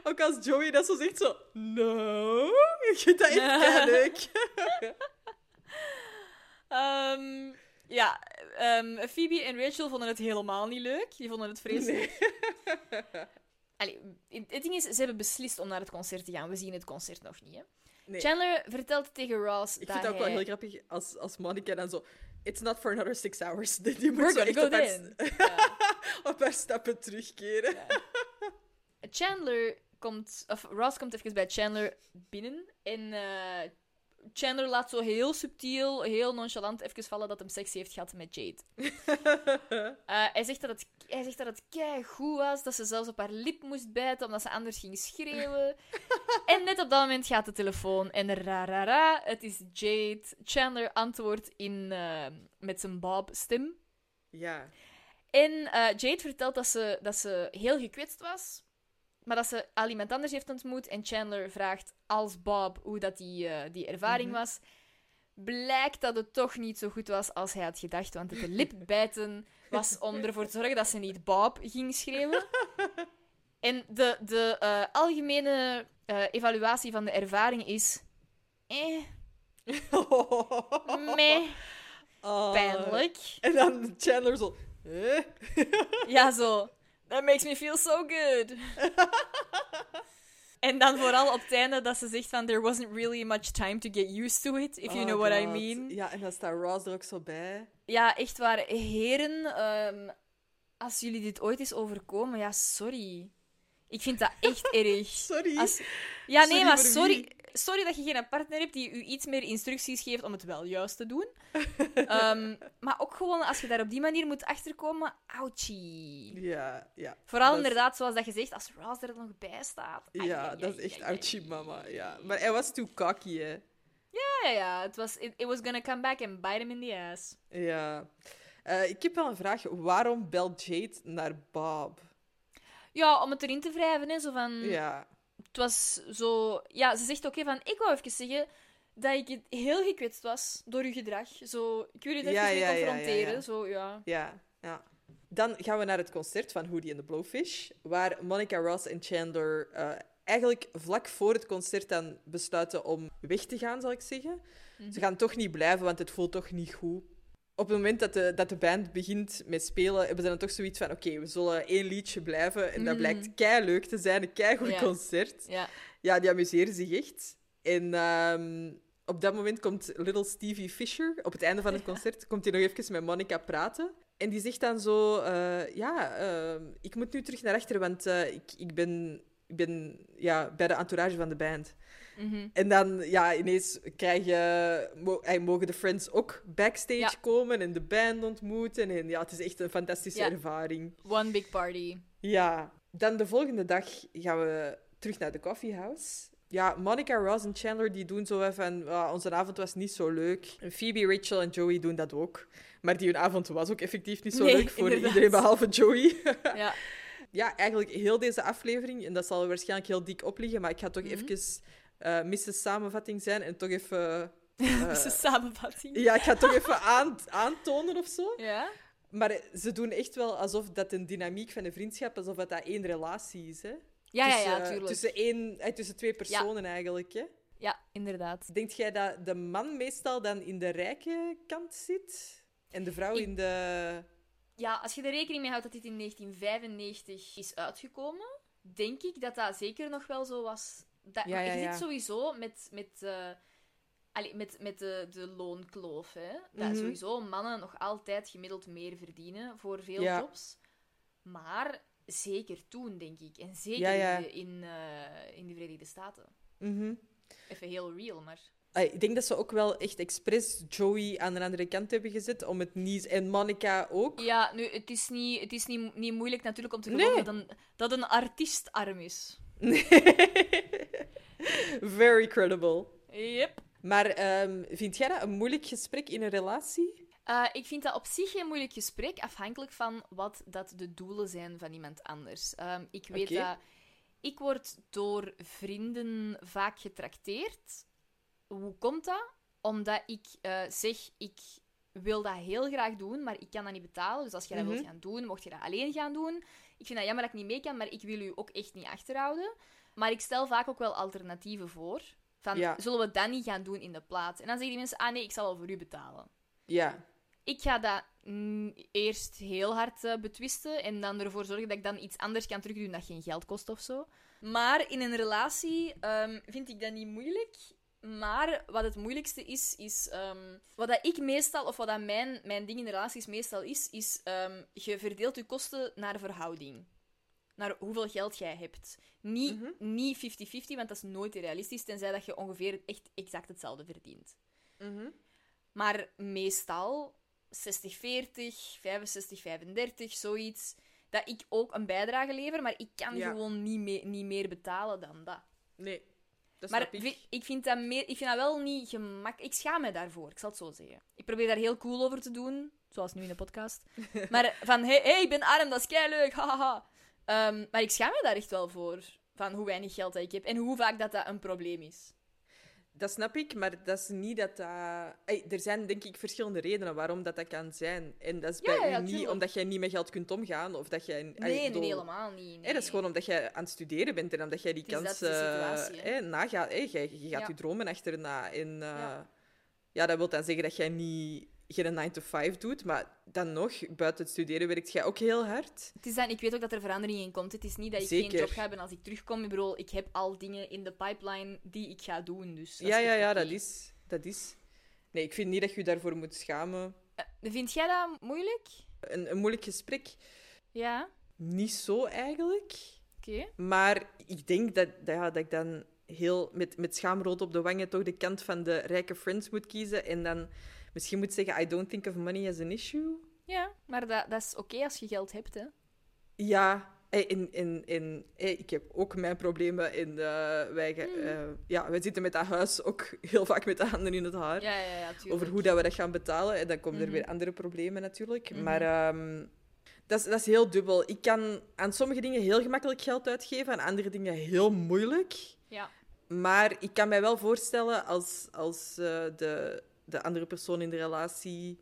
Speaker 1: Ook als Joey dat zo zegt, zo... No? Ik vind dat echt
Speaker 2: Ja.
Speaker 1: keileuk.
Speaker 2: Ehm, ja, ehm, Phoebe en Rachel vonden het helemaal niet leuk. Die vonden het vreselijk. Allee, het het ding is, ze hebben beslist om naar het concert te gaan. We zien het concert nog niet. Hè?
Speaker 1: Nee.
Speaker 2: Chandler vertelt tegen Ross
Speaker 1: Ik
Speaker 2: dat
Speaker 1: vind het ook wel
Speaker 2: hij-
Speaker 1: heel grappig als, als Monica dan zo... It's not for another six hours. Die moet
Speaker 2: We're
Speaker 1: zo
Speaker 2: gonna
Speaker 1: echt
Speaker 2: go
Speaker 1: op haar,
Speaker 2: then.
Speaker 1: s- op haar stappen terugkeren.
Speaker 2: Chandler komt, of Ross komt even bij Chandler binnen en eh, Chandler laat zo heel subtiel, heel nonchalant even vallen dat hem seks heeft gehad met Jade. Eh, hij zegt dat het, hij zegt dat het goed was, dat ze zelfs op haar lip moest bijten omdat ze anders ging schreeuwen. en net op dat moment gaat de telefoon en ra ra ra, het is Jade. Chandler antwoordt in, eh, met zijn Bob-stem.
Speaker 1: Ja.
Speaker 2: En eh, Jade vertelt dat ze, dat ze heel gekwetst was, maar dat ze al iemand anders heeft ontmoet. En Chandler vraagt als Bob hoe dat die, eh, die ervaring
Speaker 1: Mhm.
Speaker 2: was. Blijkt dat het toch niet zo goed was als hij had gedacht, want het lipbijten was om ervoor te zorgen dat ze niet Bob ging schreeuwen. En de, de eh, algemene eh, evaluatie van de ervaring is... Eh. Meh.
Speaker 1: Ah.
Speaker 2: Pijnlijk.
Speaker 1: En dan Chandler zo... eh?
Speaker 2: Ja, zo. That makes me feel so good. en dan vooral op het einde dat ze zegt van... There wasn't really much time to get used to it, if you
Speaker 1: Oh
Speaker 2: know what I
Speaker 1: God.
Speaker 2: mean.
Speaker 1: Ja, en dan staat Ross er ook zo bij.
Speaker 2: Ja, echt waar. Heren, ehm, als jullie dit ooit is overkomen, ja, sorry. Ik vind dat echt erg.
Speaker 1: Sorry.
Speaker 2: Als- Ja, nee,
Speaker 1: Sorry
Speaker 2: maar
Speaker 1: voor
Speaker 2: sorry,
Speaker 1: wie?
Speaker 2: sorry dat je geen partner hebt die u iets meer instructies geeft om het wel juist te doen. Ehm, maar ook gewoon, als je daar op die manier moet achterkomen, ouchie.
Speaker 1: Ja, ja.
Speaker 2: Vooral
Speaker 1: Dat is-
Speaker 2: inderdaad, zoals dat je zegt, als Ross er nog bij staat. Ai, ai,
Speaker 1: Ja,
Speaker 2: ai,
Speaker 1: dat is
Speaker 2: ai,
Speaker 1: echt
Speaker 2: ai, ai.
Speaker 1: ouchie mama, ja. Maar hij was too cocky, hè.
Speaker 2: Ja, ja, ja. Het was, it, it was gonna come back and bite him in the ass.
Speaker 1: Ja. Eh, ik heb wel een vraag. Waarom belt Jade naar Bob?
Speaker 2: Ja, om het erin te wrijven, hè. Zo van...
Speaker 1: Ja.
Speaker 2: Het was zo... Ja, ze zegt ook hè, van... Ik wou even zeggen dat ik heel gekwetst was door uw gedrag. Zo, ik wil u daar
Speaker 1: Ja,
Speaker 2: even mee
Speaker 1: ja, ja, ja,
Speaker 2: confronteren.
Speaker 1: ja.
Speaker 2: Zo, ja.
Speaker 1: Ja, ja. Dan gaan we naar het concert van Hoodie en de Blowfish, waar Monica Ross en Chandler eh, eigenlijk vlak voor het concert dan besluiten om weg te gaan, zal ik zeggen. Ze gaan toch niet blijven, want het voelt toch niet goed. Op het moment dat de, dat de band begint met spelen, hebben ze dan toch zoiets van: oké, we zullen één liedje blijven. En dat
Speaker 2: Mm.
Speaker 1: blijkt kei leuk te zijn, een kei goed
Speaker 2: Ja.
Speaker 1: concert.
Speaker 2: Ja.
Speaker 1: Ja, die amuseren zich echt. En ehm, op dat moment komt Little Stevie Fisher, op het einde van het concert, komt hij nog even met Monica praten. En die zegt dan zo, eh, ja, ehm, ik moet nu terug naar achter, want eh, ik, ik ben, ik ben ja, bij de entourage van de band.
Speaker 2: Mhm.
Speaker 1: En dan, ja, ineens krijg je, mo- eh, mogen de friends ook backstage
Speaker 2: Ja.
Speaker 1: komen en de band ontmoeten. En ja, het is echt een fantastische
Speaker 2: Ja.
Speaker 1: ervaring.
Speaker 2: One big party.
Speaker 1: Ja, dan de volgende dag gaan we terug naar de coffeehouse. Ja, Monica, Ross en Chandler die doen zo even van, "Ah, onze avond was niet zo leuk. En Phoebe, Rachel en Joey doen dat ook. Maar die hun avond was ook effectief niet zo
Speaker 2: Nee,
Speaker 1: leuk voor
Speaker 2: inderdaad.
Speaker 1: iedereen behalve Joey.
Speaker 2: Ja.
Speaker 1: ja, eigenlijk heel deze aflevering, en dat zal waarschijnlijk heel dik opliggen, maar ik ga
Speaker 2: Mhm.
Speaker 1: toch even eh missen samenvatting zijn en toch even... eh,
Speaker 2: Dus de samenvatting.
Speaker 1: ja, ik ga toch even aan, aantonen of zo.
Speaker 2: Ja?
Speaker 1: Maar ze doen echt wel alsof dat een dynamiek van een vriendschap, alsof dat, dat één relatie is, hè?
Speaker 2: Ja, ja, ja,
Speaker 1: Tussen, eh,
Speaker 2: tuurlijk.
Speaker 1: Tussen, één, eh, tussen twee personen eigenlijk, hè?
Speaker 2: Ja, inderdaad.
Speaker 1: Denk jij dat de man meestal dan in de rijke kant zit? En de vrouw in de...
Speaker 2: Ja, als je er rekening mee houdt dat dit in 1995 is uitgekomen, denk ik dat dat zeker nog wel zo was. Dat,
Speaker 1: Ja,
Speaker 2: maar
Speaker 1: ja,
Speaker 2: je
Speaker 1: ja.
Speaker 2: zit sowieso met, met eh, Allee, met, met de, de loonkloof, hè. Dat
Speaker 1: Mhm.
Speaker 2: sowieso mannen nog altijd gemiddeld meer verdienen voor veel
Speaker 1: Ja.
Speaker 2: jobs. Maar zeker toen, denk ik. En zeker
Speaker 1: Ja, ja.
Speaker 2: in, de, in, eh, in de Verenigde Staten.
Speaker 1: Mhm.
Speaker 2: Even heel real, maar...
Speaker 1: Ah, Ik denk dat ze ook wel echt expres Joey aan de andere kant hebben gezet om het niet. En Monica ook.
Speaker 2: Ja, nu, het is niet, het is niet, niet moeilijk natuurlijk om te
Speaker 1: Nee.
Speaker 2: geloven dat, een, dat een artiest arm is.
Speaker 1: Very credible.
Speaker 2: Yep.
Speaker 1: Maar ehm, vind jij dat een moeilijk gesprek in een relatie?
Speaker 2: Eh, ik vind dat op zich geen moeilijk gesprek, afhankelijk van wat dat de doelen zijn van iemand anders. Ehm, ik weet
Speaker 1: Oké.
Speaker 2: dat... Ik word door vrienden vaak getrakteerd. Hoe komt dat? Omdat ik eh, zeg, ik wil dat heel graag doen, maar ik kan dat niet betalen. Dus als jij dat
Speaker 1: Mhm.
Speaker 2: wilt gaan doen, mocht je dat alleen gaan doen. Ik vind dat jammer dat ik niet mee kan, maar ik wil u ook echt niet achterhouden. Maar ik stel vaak ook wel alternatieven voor. Van,
Speaker 1: Ja.
Speaker 2: zullen we dat niet gaan doen in de plaats? En dan zeggen die mensen, ah nee, ik zal wel voor u betalen.
Speaker 1: Ja.
Speaker 2: Ik ga dat mm, eerst heel hard eh, betwisten en dan ervoor zorgen dat ik dan iets anders kan terugdoen dat geen geld kost of zo. Maar in een relatie ehm, vind ik dat niet moeilijk. Maar wat het moeilijkste is, is ehm, wat dat ik meestal, of wat dat mijn, mijn ding in relaties meestal is, is ehm, je verdeelt je kosten naar verhouding. Naar hoeveel geld jij hebt. Niet niet 50-50, want dat is nooit realistisch, tenzij dat je ongeveer echt exact hetzelfde verdient. Maar meestal 60-40, 65-35, zoiets. Dat ik ook een bijdrage lever, maar ik kan
Speaker 1: Ja.
Speaker 2: gewoon niet, mee- niet meer betalen dan dat.
Speaker 1: Nee. Dat
Speaker 2: maar
Speaker 1: snap ik.
Speaker 2: vi- vind dat meer, ik vind dat wel niet gemakkelijk. Ik schaam me daarvoor, ik zal het zo zeggen. Ik probeer daar heel cool over te doen, zoals nu in de podcast. maar van, hé, hey, hey, ik ben arm, dat is keileuk, hahaha. Ehm maar ik schaam me daar echt wel voor, van hoe weinig geld dat ik heb en hoe vaak dat dat een probleem is.
Speaker 1: Dat snap ik, maar dat is niet dat dat... Ey, er zijn denk ik verschillende redenen waarom dat, dat kan zijn. En dat is
Speaker 2: Ja,
Speaker 1: bij
Speaker 2: ja,
Speaker 1: u niet
Speaker 2: tuurlijk.
Speaker 1: omdat jij niet met geld kunt omgaan of dat jij...
Speaker 2: Nee, nee, helemaal niet.
Speaker 1: Hey, dat is gewoon omdat jij aan het studeren bent en omdat jij die
Speaker 2: Het is
Speaker 1: kans
Speaker 2: dat, het is de
Speaker 1: eh,
Speaker 2: situatie, hè.
Speaker 1: hey, nagaat. Hey, jij, je gaat
Speaker 2: Ja.
Speaker 1: je dromen achterna. En eh, ja.
Speaker 2: Ja.
Speaker 1: dat wil dan zeggen dat jij niet geen 9 to 5 doet, maar dan nog, buiten het studeren werkt jij ook heel hard.
Speaker 2: Het is dan, ik weet ook dat er verandering in komt. Het is niet dat ik
Speaker 1: Zeker.
Speaker 2: geen job ga hebben als ik terugkom. Ik bedoel, ik heb al dingen in de pipeline die ik ga doen. Dus dat
Speaker 1: ja,
Speaker 2: is
Speaker 1: ja,
Speaker 2: echt
Speaker 1: ja,
Speaker 2: oké.
Speaker 1: dat is, dat is. Nee, ik vind niet dat je je daarvoor moet schamen.
Speaker 2: Vind jij dat moeilijk?
Speaker 1: Een, een moeilijk gesprek,
Speaker 2: Ja,
Speaker 1: niet zo eigenlijk.
Speaker 2: oké.
Speaker 1: Maar ik denk dat, dat, ja, dat ik dan heel met, met schaamrood op de wangen toch de kant van de rijke friends moet kiezen. En dan misschien moet zeggen, I don't think of money as an issue.
Speaker 2: Ja, maar dat, dat is oké als je geld hebt, hè.
Speaker 1: Ja, eh, en, en, en eh, ik heb ook mijn problemen. En eh, wij, ge-
Speaker 2: Hmm.
Speaker 1: eh, ja, wij zitten met dat huis ook heel vaak met de handen in het haar.
Speaker 2: Ja, ja, ja, tuurlijk.
Speaker 1: over hoe dat we dat gaan betalen. En dan komen
Speaker 2: Mhm.
Speaker 1: er weer andere problemen natuurlijk.
Speaker 2: Mhm.
Speaker 1: Maar ehm, dat, is, dat is heel dubbel. Ik kan aan sommige dingen heel gemakkelijk geld uitgeven, aan andere dingen heel moeilijk.
Speaker 2: Ja.
Speaker 1: Maar ik kan mij wel voorstellen als, als eh, de, de andere persoon in de relatie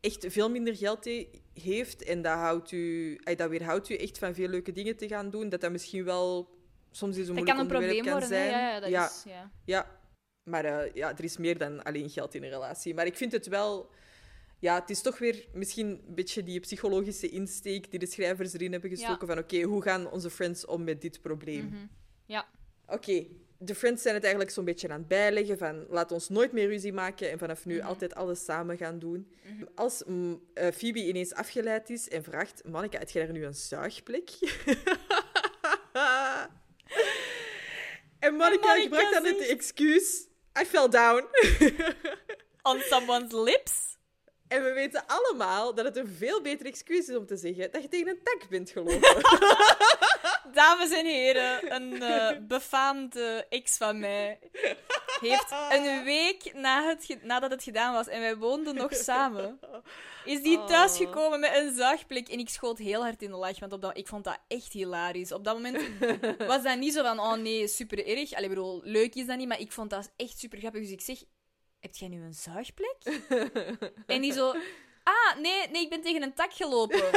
Speaker 1: echt veel minder geld he- heeft en dat, houdt u, ay, dat weerhoudt u echt van veel leuke dingen te gaan doen, dat dat misschien wel soms is een
Speaker 2: Dat
Speaker 1: moeilijk
Speaker 2: kan een
Speaker 1: onderwerp
Speaker 2: probleem
Speaker 1: kan
Speaker 2: worden, hè.
Speaker 1: zijn.
Speaker 2: Ja, ja, dat is... Ja.
Speaker 1: Ja, maar eh, ja, er is meer dan alleen geld in een relatie. Maar ik vind het wel... Ja, het is toch weer misschien een beetje die psychologische insteek die de schrijvers erin hebben gestoken. Van oké, hoe gaan onze friends om met dit probleem?
Speaker 2: Mhm. ja.
Speaker 1: Oké, de friends zijn het eigenlijk zo'n beetje aan het bijleggen van laat ons nooit meer ruzie maken en vanaf nu
Speaker 2: Mhm.
Speaker 1: altijd alles samen gaan doen. Als mm, eh, Phoebe ineens afgeleid is en vraagt, Monica, heb jij er nu een zuigplek? en Monica
Speaker 2: Monica
Speaker 1: gebruikt dan het
Speaker 2: zegt-
Speaker 1: excuus, I fell down.
Speaker 2: On someone's lips?
Speaker 1: En we weten allemaal dat het een veel beter excuus is om te zeggen dat je tegen een tak bent gelopen.
Speaker 2: Dames en heren, een eh, befaamde ex van mij heeft een week na het ge- nadat het gedaan was en wij woonden nog samen, is die
Speaker 1: Oh.
Speaker 2: thuisgekomen met een zuigplek. En ik schoot heel hard in de lach, want op dat, ik vond dat echt hilarisch. Op dat moment was dat niet zo van, oh nee, super erg. Allee, ik bedoel, leuk is dat niet, maar ik vond dat echt super grappig. Dus ik zeg, heb jij nu een zuigplek? en die zo, ah, nee, nee, ik ben tegen een tak gelopen.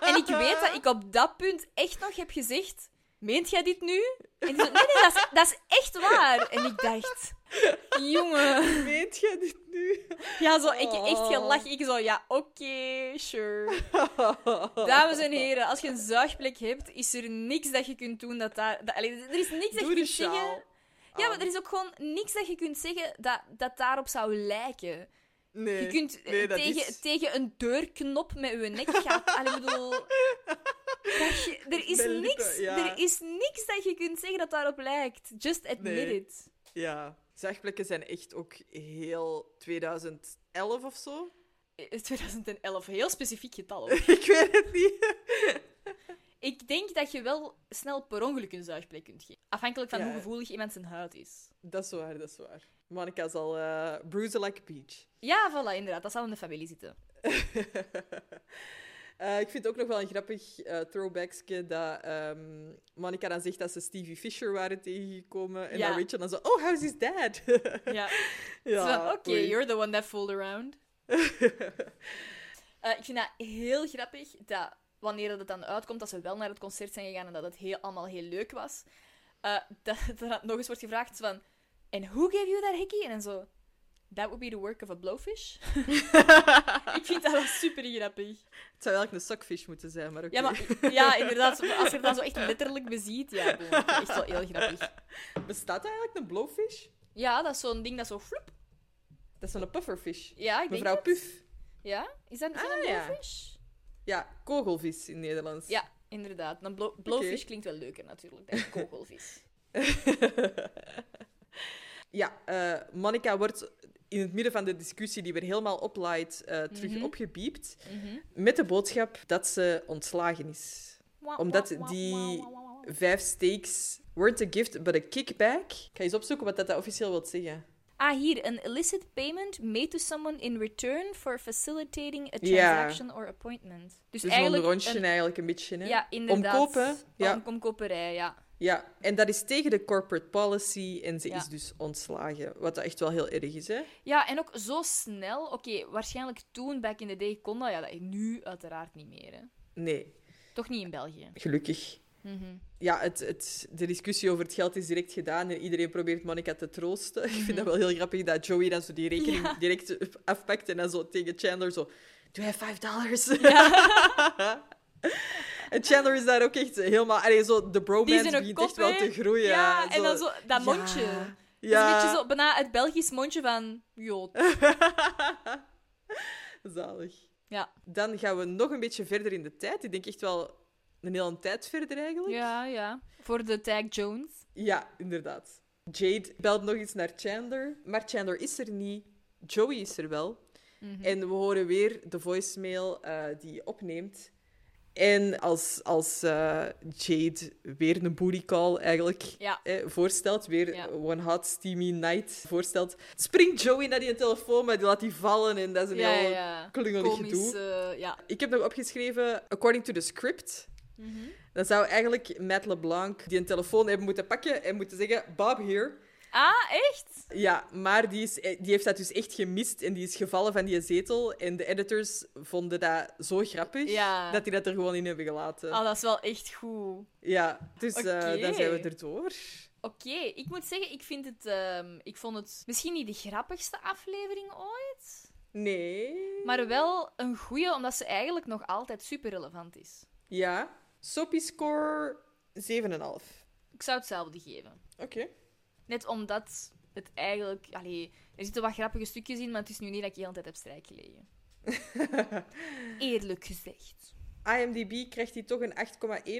Speaker 2: En ik weet dat ik op dat punt echt nog heb gezegd: Meent jij dit nu? En die zo, nee, nee, dat is, dat is echt waar. En ik dacht: Jongen.
Speaker 1: Meent jij dit nu?
Speaker 2: Ja, zo, ik echt
Speaker 1: Oh.
Speaker 2: gelachen. Ik zo, ja, oké, sure. Dames en heren, als je een zuigplek hebt, is er niks dat je kunt doen dat daar. Dat, allee, er is niks dat
Speaker 1: Doe de
Speaker 2: je
Speaker 1: Ah.
Speaker 2: kunt zeggen.
Speaker 1: sjaal.
Speaker 2: Ja, maar er is ook gewoon niks dat je kunt zeggen dat, dat daarop zou lijken.
Speaker 1: Nee,
Speaker 2: je kunt eh,
Speaker 1: nee, dat
Speaker 2: tegen,
Speaker 1: is-
Speaker 2: tegen een deurknop met je nek gaan. Allee, ik bedoel... dat je- er, is
Speaker 1: Mijn lippen,
Speaker 2: niks,
Speaker 1: ja.
Speaker 2: er is niks dat je kunt zeggen dat daarop lijkt. Just admit
Speaker 1: Nee.
Speaker 2: it.
Speaker 1: Ja. Zegplekken zijn echt ook heel 2011 of zo.
Speaker 2: Eh, 2011, heel specifiek getal. hoor.
Speaker 1: Ik weet het niet.
Speaker 2: Ik denk dat je wel snel per ongeluk een zuigplek kunt geven. Afhankelijk van
Speaker 1: Ja.
Speaker 2: hoe gevoelig iemand zijn huid is.
Speaker 1: Dat is waar, dat is waar. Monica zal eh bruisen like a peach.
Speaker 2: Ja, voilà, inderdaad. Dat zal in de familie zitten.
Speaker 1: Eh, ik vind ook nog wel een grappig eh throwbackske dat ehm Monica dan zegt dat ze Stevie Fisher waren tegengekomen. En
Speaker 2: Ja.
Speaker 1: dan Rachel dan zo, oh, how's his dad?
Speaker 2: Ja.
Speaker 1: Ja,
Speaker 2: Zo van, Oké,
Speaker 1: oei.
Speaker 2: you're the one that fooled around. Eh, ik vind dat heel grappig dat wanneer dat het dan uitkomt dat ze wel naar het concert zijn gegaan en dat het heel, allemaal heel leuk was, eh, dat er dan nog eens wordt gevraagd van, en who gave you that hickey? En dan zo, that would be the work of a blowfish. ik vind dat wel super grappig.
Speaker 1: Het zou eigenlijk een suckfish moeten zijn, maar oké.
Speaker 2: Ja, maar, ja, inderdaad, als je het dan zo echt letterlijk beziet, ja, boom, dat is wel heel grappig.
Speaker 1: Bestaat dat eigenlijk een blowfish?
Speaker 2: Ja, dat is zo'n ding dat zo floep.
Speaker 1: Dat is zo'n pufferfish.
Speaker 2: Ja, ik denk
Speaker 1: Mevrouw
Speaker 2: het.
Speaker 1: Puf.
Speaker 2: Ja, is dat, is dat een
Speaker 1: Ah, ja.
Speaker 2: blowfish?
Speaker 1: Ja, kogelvis in Nederlands.
Speaker 2: Ja, inderdaad. Dan blo- blowfish
Speaker 1: Oké.
Speaker 2: klinkt wel leuker natuurlijk dan kogelvis.
Speaker 1: Ja, eh, Monica wordt in het midden van de discussie die weer helemaal oplaait, eh, terug
Speaker 2: Mhm.
Speaker 1: opgebiept.
Speaker 2: Mhm.
Speaker 1: Met de boodschap dat ze ontslagen is.
Speaker 2: Wah,
Speaker 1: Omdat
Speaker 2: wah, wah, wah,
Speaker 1: die
Speaker 2: wah, wah, wah.
Speaker 1: vijf stakes weren't a gift, but a kickback. Ik ga eens opzoeken wat dat dat officieel wil zeggen.
Speaker 2: Ah, hier. An illicit payment made to someone in return for facilitating a
Speaker 1: Ja.
Speaker 2: transaction or appointment. Dus,
Speaker 1: Dus, een
Speaker 2: eigenlijk
Speaker 1: rondje
Speaker 2: een-
Speaker 1: eigenlijk een beetje. Hè?
Speaker 2: Ja, inderdaad.
Speaker 1: Omkopen. Ja.
Speaker 2: Om, omkoperij, ja.
Speaker 1: ja, en dat is tegen de corporate policy en ze
Speaker 2: Ja.
Speaker 1: is dus ontslagen. Wat dat echt wel heel erg is, hè?
Speaker 2: Ja, en ook zo snel. Oké, waarschijnlijk toen, back in the day, kon dat. Ja, dat nu uiteraard niet meer. Hè.
Speaker 1: Nee,
Speaker 2: Toch niet in België.
Speaker 1: gelukkig.
Speaker 2: Mhm.
Speaker 1: Ja, het, het, de discussie over het geld is direct gedaan en iedereen probeert Monica te troosten. Ik vind dat wel heel grappig dat Joey dan zo die rekening
Speaker 2: Mhm. Ja.
Speaker 1: direct afpakt en dan zo tegen Chandler zo... Do I have five dollars? en Chandler is daar ook echt helemaal... Allee, zo, de
Speaker 2: Die
Speaker 1: bromance
Speaker 2: zijn een
Speaker 1: begint
Speaker 2: kop,
Speaker 1: echt wel
Speaker 2: hè.
Speaker 1: te groeien.
Speaker 2: Ja, en dan zo
Speaker 1: Ja.
Speaker 2: dat mondje. Dat is
Speaker 1: Ja.
Speaker 2: een beetje zo, bijna het Belgisch mondje van... Jo.
Speaker 1: Zalig.
Speaker 2: Ja.
Speaker 1: Dan gaan we nog een beetje verder in de tijd. Ik denk echt wel een hele tijd verder eigenlijk.
Speaker 2: Ja, ja. Voor de tag Jones.
Speaker 1: Ja, inderdaad. Jade belt nog eens naar Chandler, maar Chandler is er niet. Joey is er wel.
Speaker 2: Mhm.
Speaker 1: En we horen weer de voicemail eh, die je opneemt. En als, als eh, Jade weer een booty call eigenlijk
Speaker 2: Ja.
Speaker 1: eh, voorstelt, weer
Speaker 2: Ja.
Speaker 1: One Hot Steamy Night voorstelt, springt Joey naar die telefoon, maar die laat die vallen en dat is een
Speaker 2: Ja,
Speaker 1: heel
Speaker 2: ja.
Speaker 1: klungelig
Speaker 2: Komisch,
Speaker 1: gedoe.
Speaker 2: eh, ja.
Speaker 1: Ik heb nog opgeschreven, according to the script,
Speaker 2: Mhm.
Speaker 1: dan zou eigenlijk Matt LeBlanc die een telefoon hebben moeten pakken en moeten zeggen, Bob hier.
Speaker 2: Ah, echt?
Speaker 1: Ja, maar die, is, die heeft dat dus echt gemist en die is gevallen van die zetel. En de editors vonden dat zo grappig
Speaker 2: Ja.
Speaker 1: dat die dat er gewoon in hebben gelaten.
Speaker 2: Ah, dat is wel echt goed.
Speaker 1: Ja, dus eh,
Speaker 2: Oké.
Speaker 1: dan zijn we erdoor.
Speaker 2: Oké, ik moet zeggen, ik vind het... ehm, ik vond het misschien niet de grappigste aflevering ooit.
Speaker 1: Nee.
Speaker 2: Maar wel een goeie, omdat ze eigenlijk nog altijd super relevant is.
Speaker 1: Ja. Soppy score 7,5.
Speaker 2: Ik zou hetzelfde geven.
Speaker 1: Oké.
Speaker 2: Net omdat het eigenlijk... Allee, er zitten wat grappige stukjes in, maar het is nu niet dat ik de hele tijd heb strijk gelegen. Eerlijk gezegd.
Speaker 1: IMDb krijgt hij toch een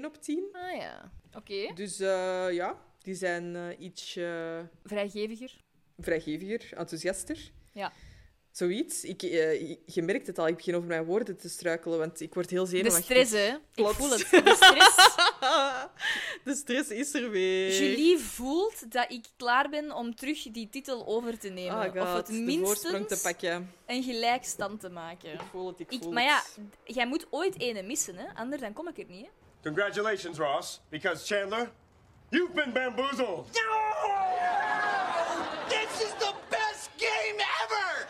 Speaker 1: 8,1 op 10.
Speaker 2: Ah ja, oké.
Speaker 1: Dus eh, ja, die zijn eh, iets eh,
Speaker 2: Vrijgeviger.
Speaker 1: vrijgeviger, enthousiaster.
Speaker 2: Ja.
Speaker 1: Zoiets. Ik, eh, je merkt het al, ik begin over mijn woorden te struikelen, want ik word heel
Speaker 2: De
Speaker 1: zenuwachtig.
Speaker 2: stress, hè. Ik
Speaker 1: Plots.
Speaker 2: voel het. De stress.
Speaker 1: De stress is er weer.
Speaker 2: Julie voelt dat ik klaar ben om terug die titel over te nemen.
Speaker 1: Ah,
Speaker 2: of
Speaker 1: God,
Speaker 2: het
Speaker 1: de voorsprong te
Speaker 2: minstens
Speaker 1: pakken.
Speaker 2: een gelijkstand te maken.
Speaker 1: Ik voel het, ik
Speaker 2: Ik-
Speaker 1: voel
Speaker 2: maar ja,
Speaker 1: het.
Speaker 2: d- jij moet ooit ene missen, hè? anders dan kom ik er niet. Hè?
Speaker 11: Congratulations, Ross, because Chandler, you've been bamboozled.
Speaker 10: This is the best game ever!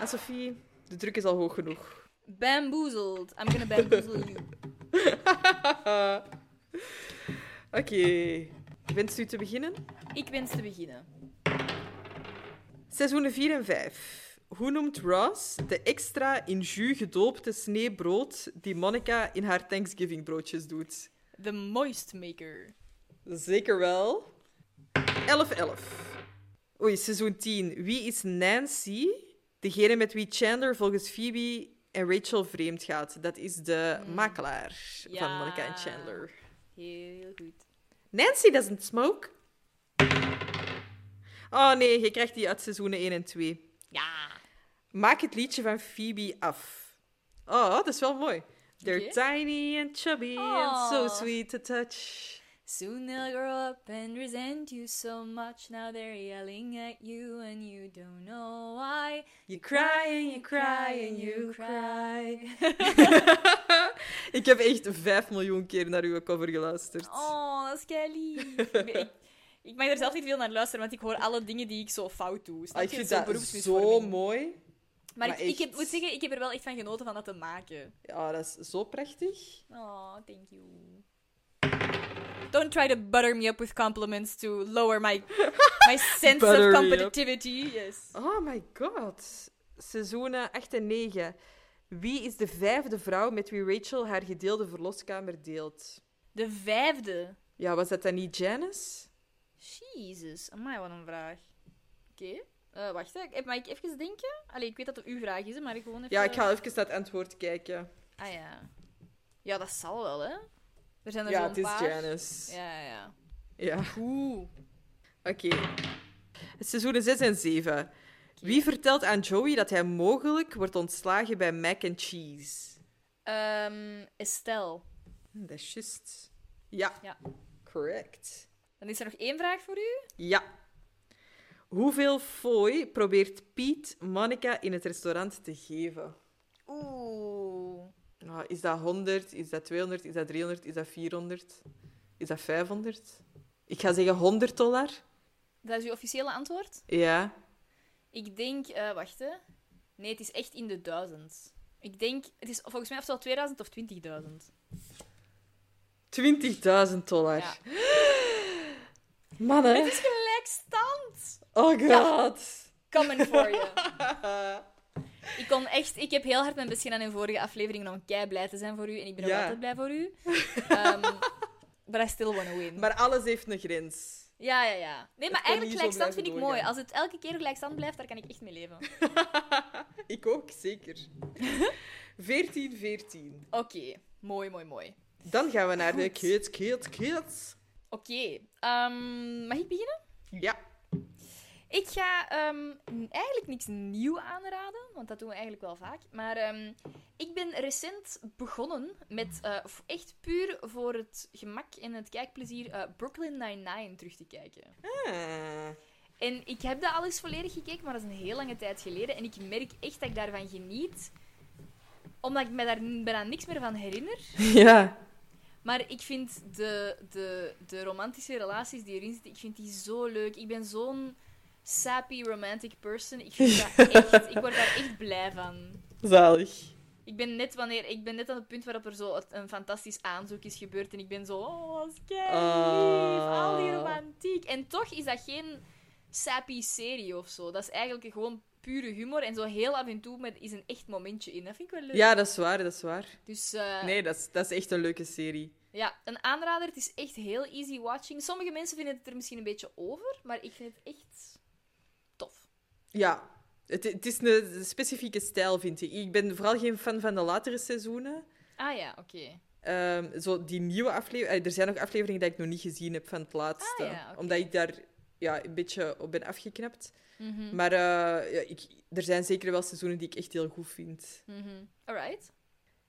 Speaker 1: En Sophie, de druk is al hoog genoeg.
Speaker 2: Bamboozled. I'm gonna bamboozle you.
Speaker 1: Oké. Wenst u te beginnen?
Speaker 2: Ik wens te beginnen.
Speaker 1: Seizoenen 4 en 5. Hoe noemt Ross de extra in jus gedoopte sneebrood die Monica in haar Thanksgiving broodjes doet?
Speaker 2: The Moist Maker.
Speaker 1: Zeker wel. 11-11. Oei, seizoen 10. Wie is Nancy? Degene met wie Chandler volgens Phoebe en Rachel vreemd gaat. Dat is de makelaar van
Speaker 2: Hmm. Ja.
Speaker 1: Monica en Chandler.
Speaker 2: Heel goed.
Speaker 1: Nancy doesn't smoke. Oh nee, je krijgt die uit seizoenen 1 en 2.
Speaker 2: Ja.
Speaker 1: Maak het liedje van Phoebe af. Oh, dat is wel mooi. They're
Speaker 2: Oké.
Speaker 1: tiny and chubby and so
Speaker 2: Oh.
Speaker 1: sweet to touch.
Speaker 2: Soon they'll grow up and resent you so much. Now they're yelling at you and you don't know why.
Speaker 1: You cry and you cry and you
Speaker 2: cry.
Speaker 1: Ik heb echt 5 miljoen keer naar uw cover geluisterd.
Speaker 2: Oh, dat is kei lief. ik, ben- ik, ik mag er zelf niet veel naar luisteren, want ik hoor alle dingen die ik zo fout doe. Snap
Speaker 1: Ah, ik
Speaker 2: je?
Speaker 1: vind
Speaker 2: Zo'n
Speaker 1: dat
Speaker 2: beroepsmisvorming.
Speaker 1: zo mooi.
Speaker 2: Maar,
Speaker 1: maar
Speaker 2: ik, ik
Speaker 1: echt.
Speaker 2: heb, moet zeggen, ik heb er wel echt van genoten van dat te maken.
Speaker 1: Ja, dat is zo prachtig.
Speaker 2: Oh, thank you. Don't try to butter me up with compliments to lower my, my sense
Speaker 1: Butter
Speaker 2: of
Speaker 1: me up.
Speaker 2: competitivity. Yes.
Speaker 1: Oh my god. Seizoenen 8 en 9. Wie is de vijfde vrouw met wie Rachel haar gedeelde verloskamer deelt?
Speaker 2: De vijfde.
Speaker 1: Ja, was dat dan niet Janice?
Speaker 2: Jezus, amai, wat een vraag. Oké, eh, wacht, hè. Ik- mag ik even denken? Allee, ik weet dat het uw vraag is, hè, maar ik gewoon even...
Speaker 1: Ja, ik ga even naar het antwoord kijken.
Speaker 2: Ah ja. Ja, dat zal wel, hè? Er zijn er
Speaker 1: Ja,
Speaker 2: zo'n
Speaker 1: het is
Speaker 2: paar.
Speaker 1: Janice.
Speaker 2: Ja, ja, ja.
Speaker 1: Ja.
Speaker 2: Oeh.
Speaker 1: Oké. Seizoenen 6 en 7. Wie vertelt aan Joey dat hij mogelijk wordt ontslagen bij Mac and Cheese?
Speaker 2: Ehm, Estelle.
Speaker 1: Hm, Dat is juist. Ja.
Speaker 2: Ja.
Speaker 1: Correct.
Speaker 2: Dan is er nog één vraag voor u.
Speaker 1: Ja. Hoeveel fooi probeert Piet Monica in het restaurant te geven?
Speaker 2: Oeh.
Speaker 1: Ah, is dat 100? Is dat 200? Is dat 300? Is dat 400? Is dat 500? Ik ga zeggen 100 dollar.
Speaker 2: Dat is uw officiële antwoord?
Speaker 1: Ja.
Speaker 2: Ik denk... eh, wacht, hè. Nee, het is echt in de duizend. Ik denk... Het is volgens mij ofwel 2000 of 20.000.
Speaker 1: 20.000 dollar.
Speaker 2: Ja.
Speaker 1: Mannen.
Speaker 2: Het is gelijkstand!
Speaker 1: Oh god.
Speaker 2: Coming for you. Ik, kon echt, ik heb heel hard mijn best gedaan in vorige afleveringen om kei blij te zijn voor u. En ik ben
Speaker 1: Ja.
Speaker 2: ook altijd blij voor u. Ehm but I still wanna win.
Speaker 1: Maar alles heeft een grens.
Speaker 2: Ja, ja, ja. Nee, maar
Speaker 1: Het kan niet
Speaker 2: eigenlijk
Speaker 1: zo
Speaker 2: gelijkstand
Speaker 1: blijven
Speaker 2: vind ik mooi.
Speaker 1: doorgaan.
Speaker 2: Als het elke keer gelijkstand blijft, daar kan ik echt mee leven. Oké.
Speaker 1: Ik ook, zeker. 14, 14.
Speaker 2: Mooi, mooi, mooi.
Speaker 1: Dan gaan we naar de kids, kids, kids.
Speaker 2: Oké. ehm, mag ik beginnen?
Speaker 1: Ja.
Speaker 2: Ik ga ehm, n- eigenlijk niks nieuw aanraden, want dat doen we eigenlijk wel vaak. Maar ehm, ik ben recent begonnen met eh, f- echt puur voor het gemak en het kijkplezier eh, Brooklyn Nine-Nine terug te kijken. Eh.
Speaker 1: Ah.
Speaker 2: En ik heb dat al eens volledig gekeken, maar dat is een heel lange tijd geleden. En ik merk echt dat ik daarvan geniet, omdat ik me daar n- bijna niks meer van herinner.
Speaker 1: Ja.
Speaker 2: Maar ik vind de, de, de romantische relaties die erin zitten, ik vind die zo leuk. Ik ben zo'n sappy romantic person. Ik vind dat echt, ik word daar echt blij van.
Speaker 1: Zalig.
Speaker 2: Ik ben net, wanneer, ik ben net aan het punt waarop er zo het- een fantastisch aanzoek is gebeurd. En ik ben zo, oh, wat kei lief. Al die
Speaker 1: Ah.
Speaker 2: romantiek. En toch is dat geen sappy serie of zo. Dat is eigenlijk gewoon pure humor. En zo heel af en toe met, is een echt momentje in. Dat vind ik wel leuk.
Speaker 1: Ja, dat is waar, dat is waar.
Speaker 2: Dus, eh,
Speaker 1: Nee, dat is, dat is echt een leuke serie.
Speaker 2: Ja, een aanrader. Het is echt heel easy watching. Sommige mensen vinden het er misschien een beetje over, maar ik vind het echt tof.
Speaker 1: Ja. Het, het is een specifieke stijl, vind ik. Ik ben vooral geen fan van de latere seizoenen.
Speaker 2: Ah ja, oké.
Speaker 1: Ehm, zo die nieuwe aflevering... eh, Er zijn nog afleveringen die ik nog niet gezien heb van het laatste.
Speaker 2: Ah, ja, oké.
Speaker 1: Omdat ik daar ja, een beetje op ben afgeknapt.
Speaker 2: Mhm.
Speaker 1: Maar eh, ja, ik, er zijn zeker wel seizoenen die ik echt heel goed vind.
Speaker 2: Mhm. Alright.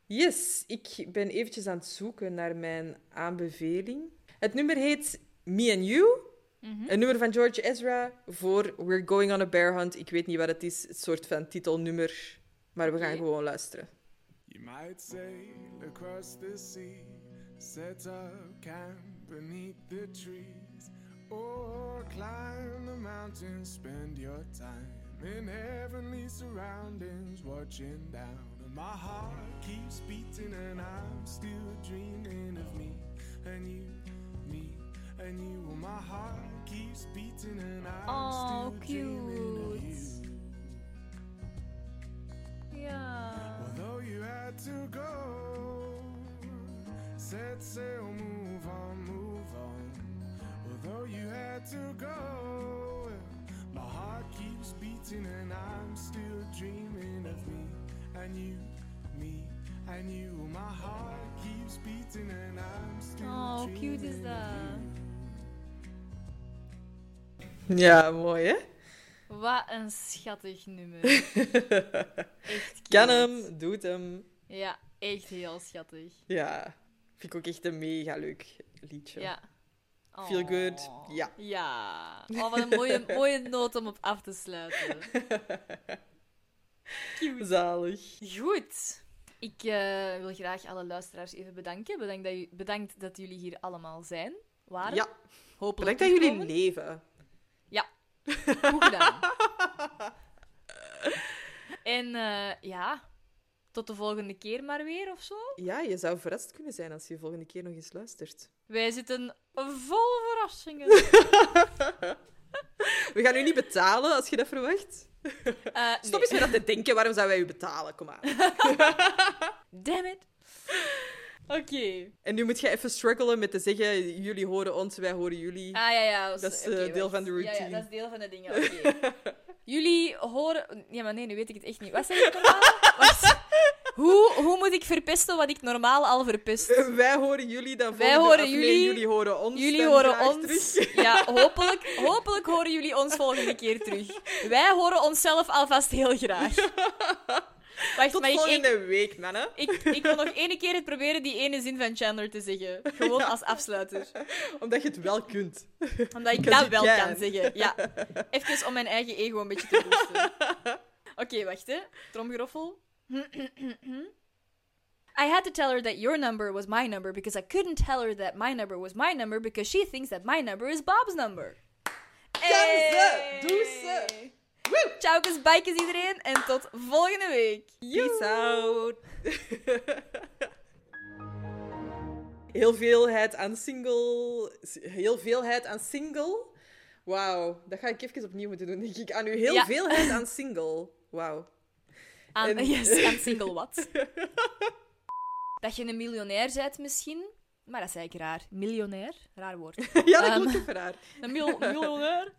Speaker 1: Yes, ik ben eventjes aan het zoeken naar mijn aanbeveling. Het nummer heet Me and You. Een nummer van George Ezra voor We're Going on a Bear Hunt. Ik weet niet wat het is, het soort van titelnummer. Maar we gaan gewoon luisteren.
Speaker 11: You might sail across the sea, set up camp beneath the trees, or climb the mountains, spend your time in heavenly surroundings, watching down. And my heart keeps beating, and I'm still dreaming of me and you, me and you. Well, my heart keeps beating, and I'm
Speaker 2: Oh,
Speaker 11: still dreaming of you.
Speaker 2: cute. Ja.
Speaker 11: Although you had to go, set sail, move on, move on. though you had to go. My heart keeps beating and I'm still dreaming of me and you, me and you. My heart keeps beating and I'm still
Speaker 2: Oh,
Speaker 11: dreaming.
Speaker 2: hoe cute is dat?
Speaker 1: Ja, mooi hè?
Speaker 2: Wat een schattig nummer. Echt
Speaker 1: Kan
Speaker 2: cute.
Speaker 1: hem, doet hem.
Speaker 2: Ja, echt heel schattig.
Speaker 1: Ja, vind ik ook echt een mega leuk liedje.
Speaker 2: Ja. Oh.
Speaker 1: Feel good, ja.
Speaker 2: Ja. Oh, wat een mooie, mooie noot om op af te sluiten.
Speaker 1: Zalig.
Speaker 2: Goed. Ik eh, wil graag alle luisteraars even bedanken. Bedankt dat, ju- bedankt dat jullie hier allemaal zijn. Waren.
Speaker 1: Ja.
Speaker 2: Hopelijk
Speaker 1: Bedankt dat jullie
Speaker 2: terugkomen.
Speaker 1: leven.
Speaker 2: Ja. Goed gedaan. en eh, ja, tot de volgende keer maar weer of zo.
Speaker 1: Ja, je zou verrast kunnen zijn als je de volgende keer nog eens luistert.
Speaker 2: Wij zitten vol verrassingen.
Speaker 1: We gaan u niet betalen als je dat verwacht.
Speaker 2: Eh,
Speaker 1: Stop
Speaker 2: nee.
Speaker 1: eens met dat te denken. Waarom zouden wij u betalen? Kom aan.
Speaker 2: Damn it. Oké.
Speaker 1: En nu moet je even struggelen met te zeggen: jullie horen ons, wij horen jullie.
Speaker 2: Ah ja, ja.
Speaker 1: Dat is,
Speaker 2: oké,
Speaker 1: eh, deel
Speaker 2: wacht.
Speaker 1: van de
Speaker 2: Ja, Ja,
Speaker 1: routine.
Speaker 2: dat is deel van de dingen. oké. Jullie horen. Ja, maar nee, nu weet ik het echt niet. Wat zeg ik normaal? Wacht. Hoe, hoe moet ik verpesten wat ik normaal al verpest?
Speaker 1: Wij horen jullie dan
Speaker 2: Wij
Speaker 1: volgende
Speaker 2: horen
Speaker 1: af- nee,
Speaker 2: jullie.
Speaker 1: jullie horen Eh, ons.
Speaker 2: Jullie
Speaker 1: dan
Speaker 2: horen
Speaker 1: graag
Speaker 2: ons.
Speaker 1: terug.
Speaker 2: Ja, hopelijk, hopelijk horen jullie ons volgende keer terug. Wij horen onszelf alvast heel graag. Wacht,
Speaker 1: Tot
Speaker 2: maar ik,
Speaker 1: volgende
Speaker 2: ik,
Speaker 1: week, mannen.
Speaker 2: ik, ik wil nog ene keer het proberen die ene zin van Chandler te zeggen. Gewoon als afsluiter.
Speaker 1: Omdat je het wel kunt.
Speaker 2: Omdat ik
Speaker 1: Because
Speaker 2: dat
Speaker 1: you
Speaker 2: wel
Speaker 1: can.
Speaker 2: kan zeggen. Ja. Even om mijn eigen ego een beetje te boosten. Oké, wacht hè. Tromgeroffel. I had to tell her that your number was my number because I couldn't tell her that my number was my number because she thinks that my number is Bob's number.
Speaker 1: Kan ze,
Speaker 2: Hey!
Speaker 1: doe ze.
Speaker 2: Tjaukes, bikes iedereen en tot volgende week.
Speaker 1: Peace out. heel veelheid aan single. Heel veelheid aan single. Wauw, dat ga ik even opnieuw moeten doen, denk ik. Aan uw heel
Speaker 2: Ja.
Speaker 1: veelheid aan single. Wauw.
Speaker 2: Aan,
Speaker 1: En-
Speaker 2: yes, aan single wat? dat je een miljonair bent misschien. Maar dat is eigenlijk raar. Miljonair? Raar woord.
Speaker 1: Ja, dat
Speaker 2: Ehm,
Speaker 1: klopt um, voor haar.
Speaker 2: Een mil miljonair?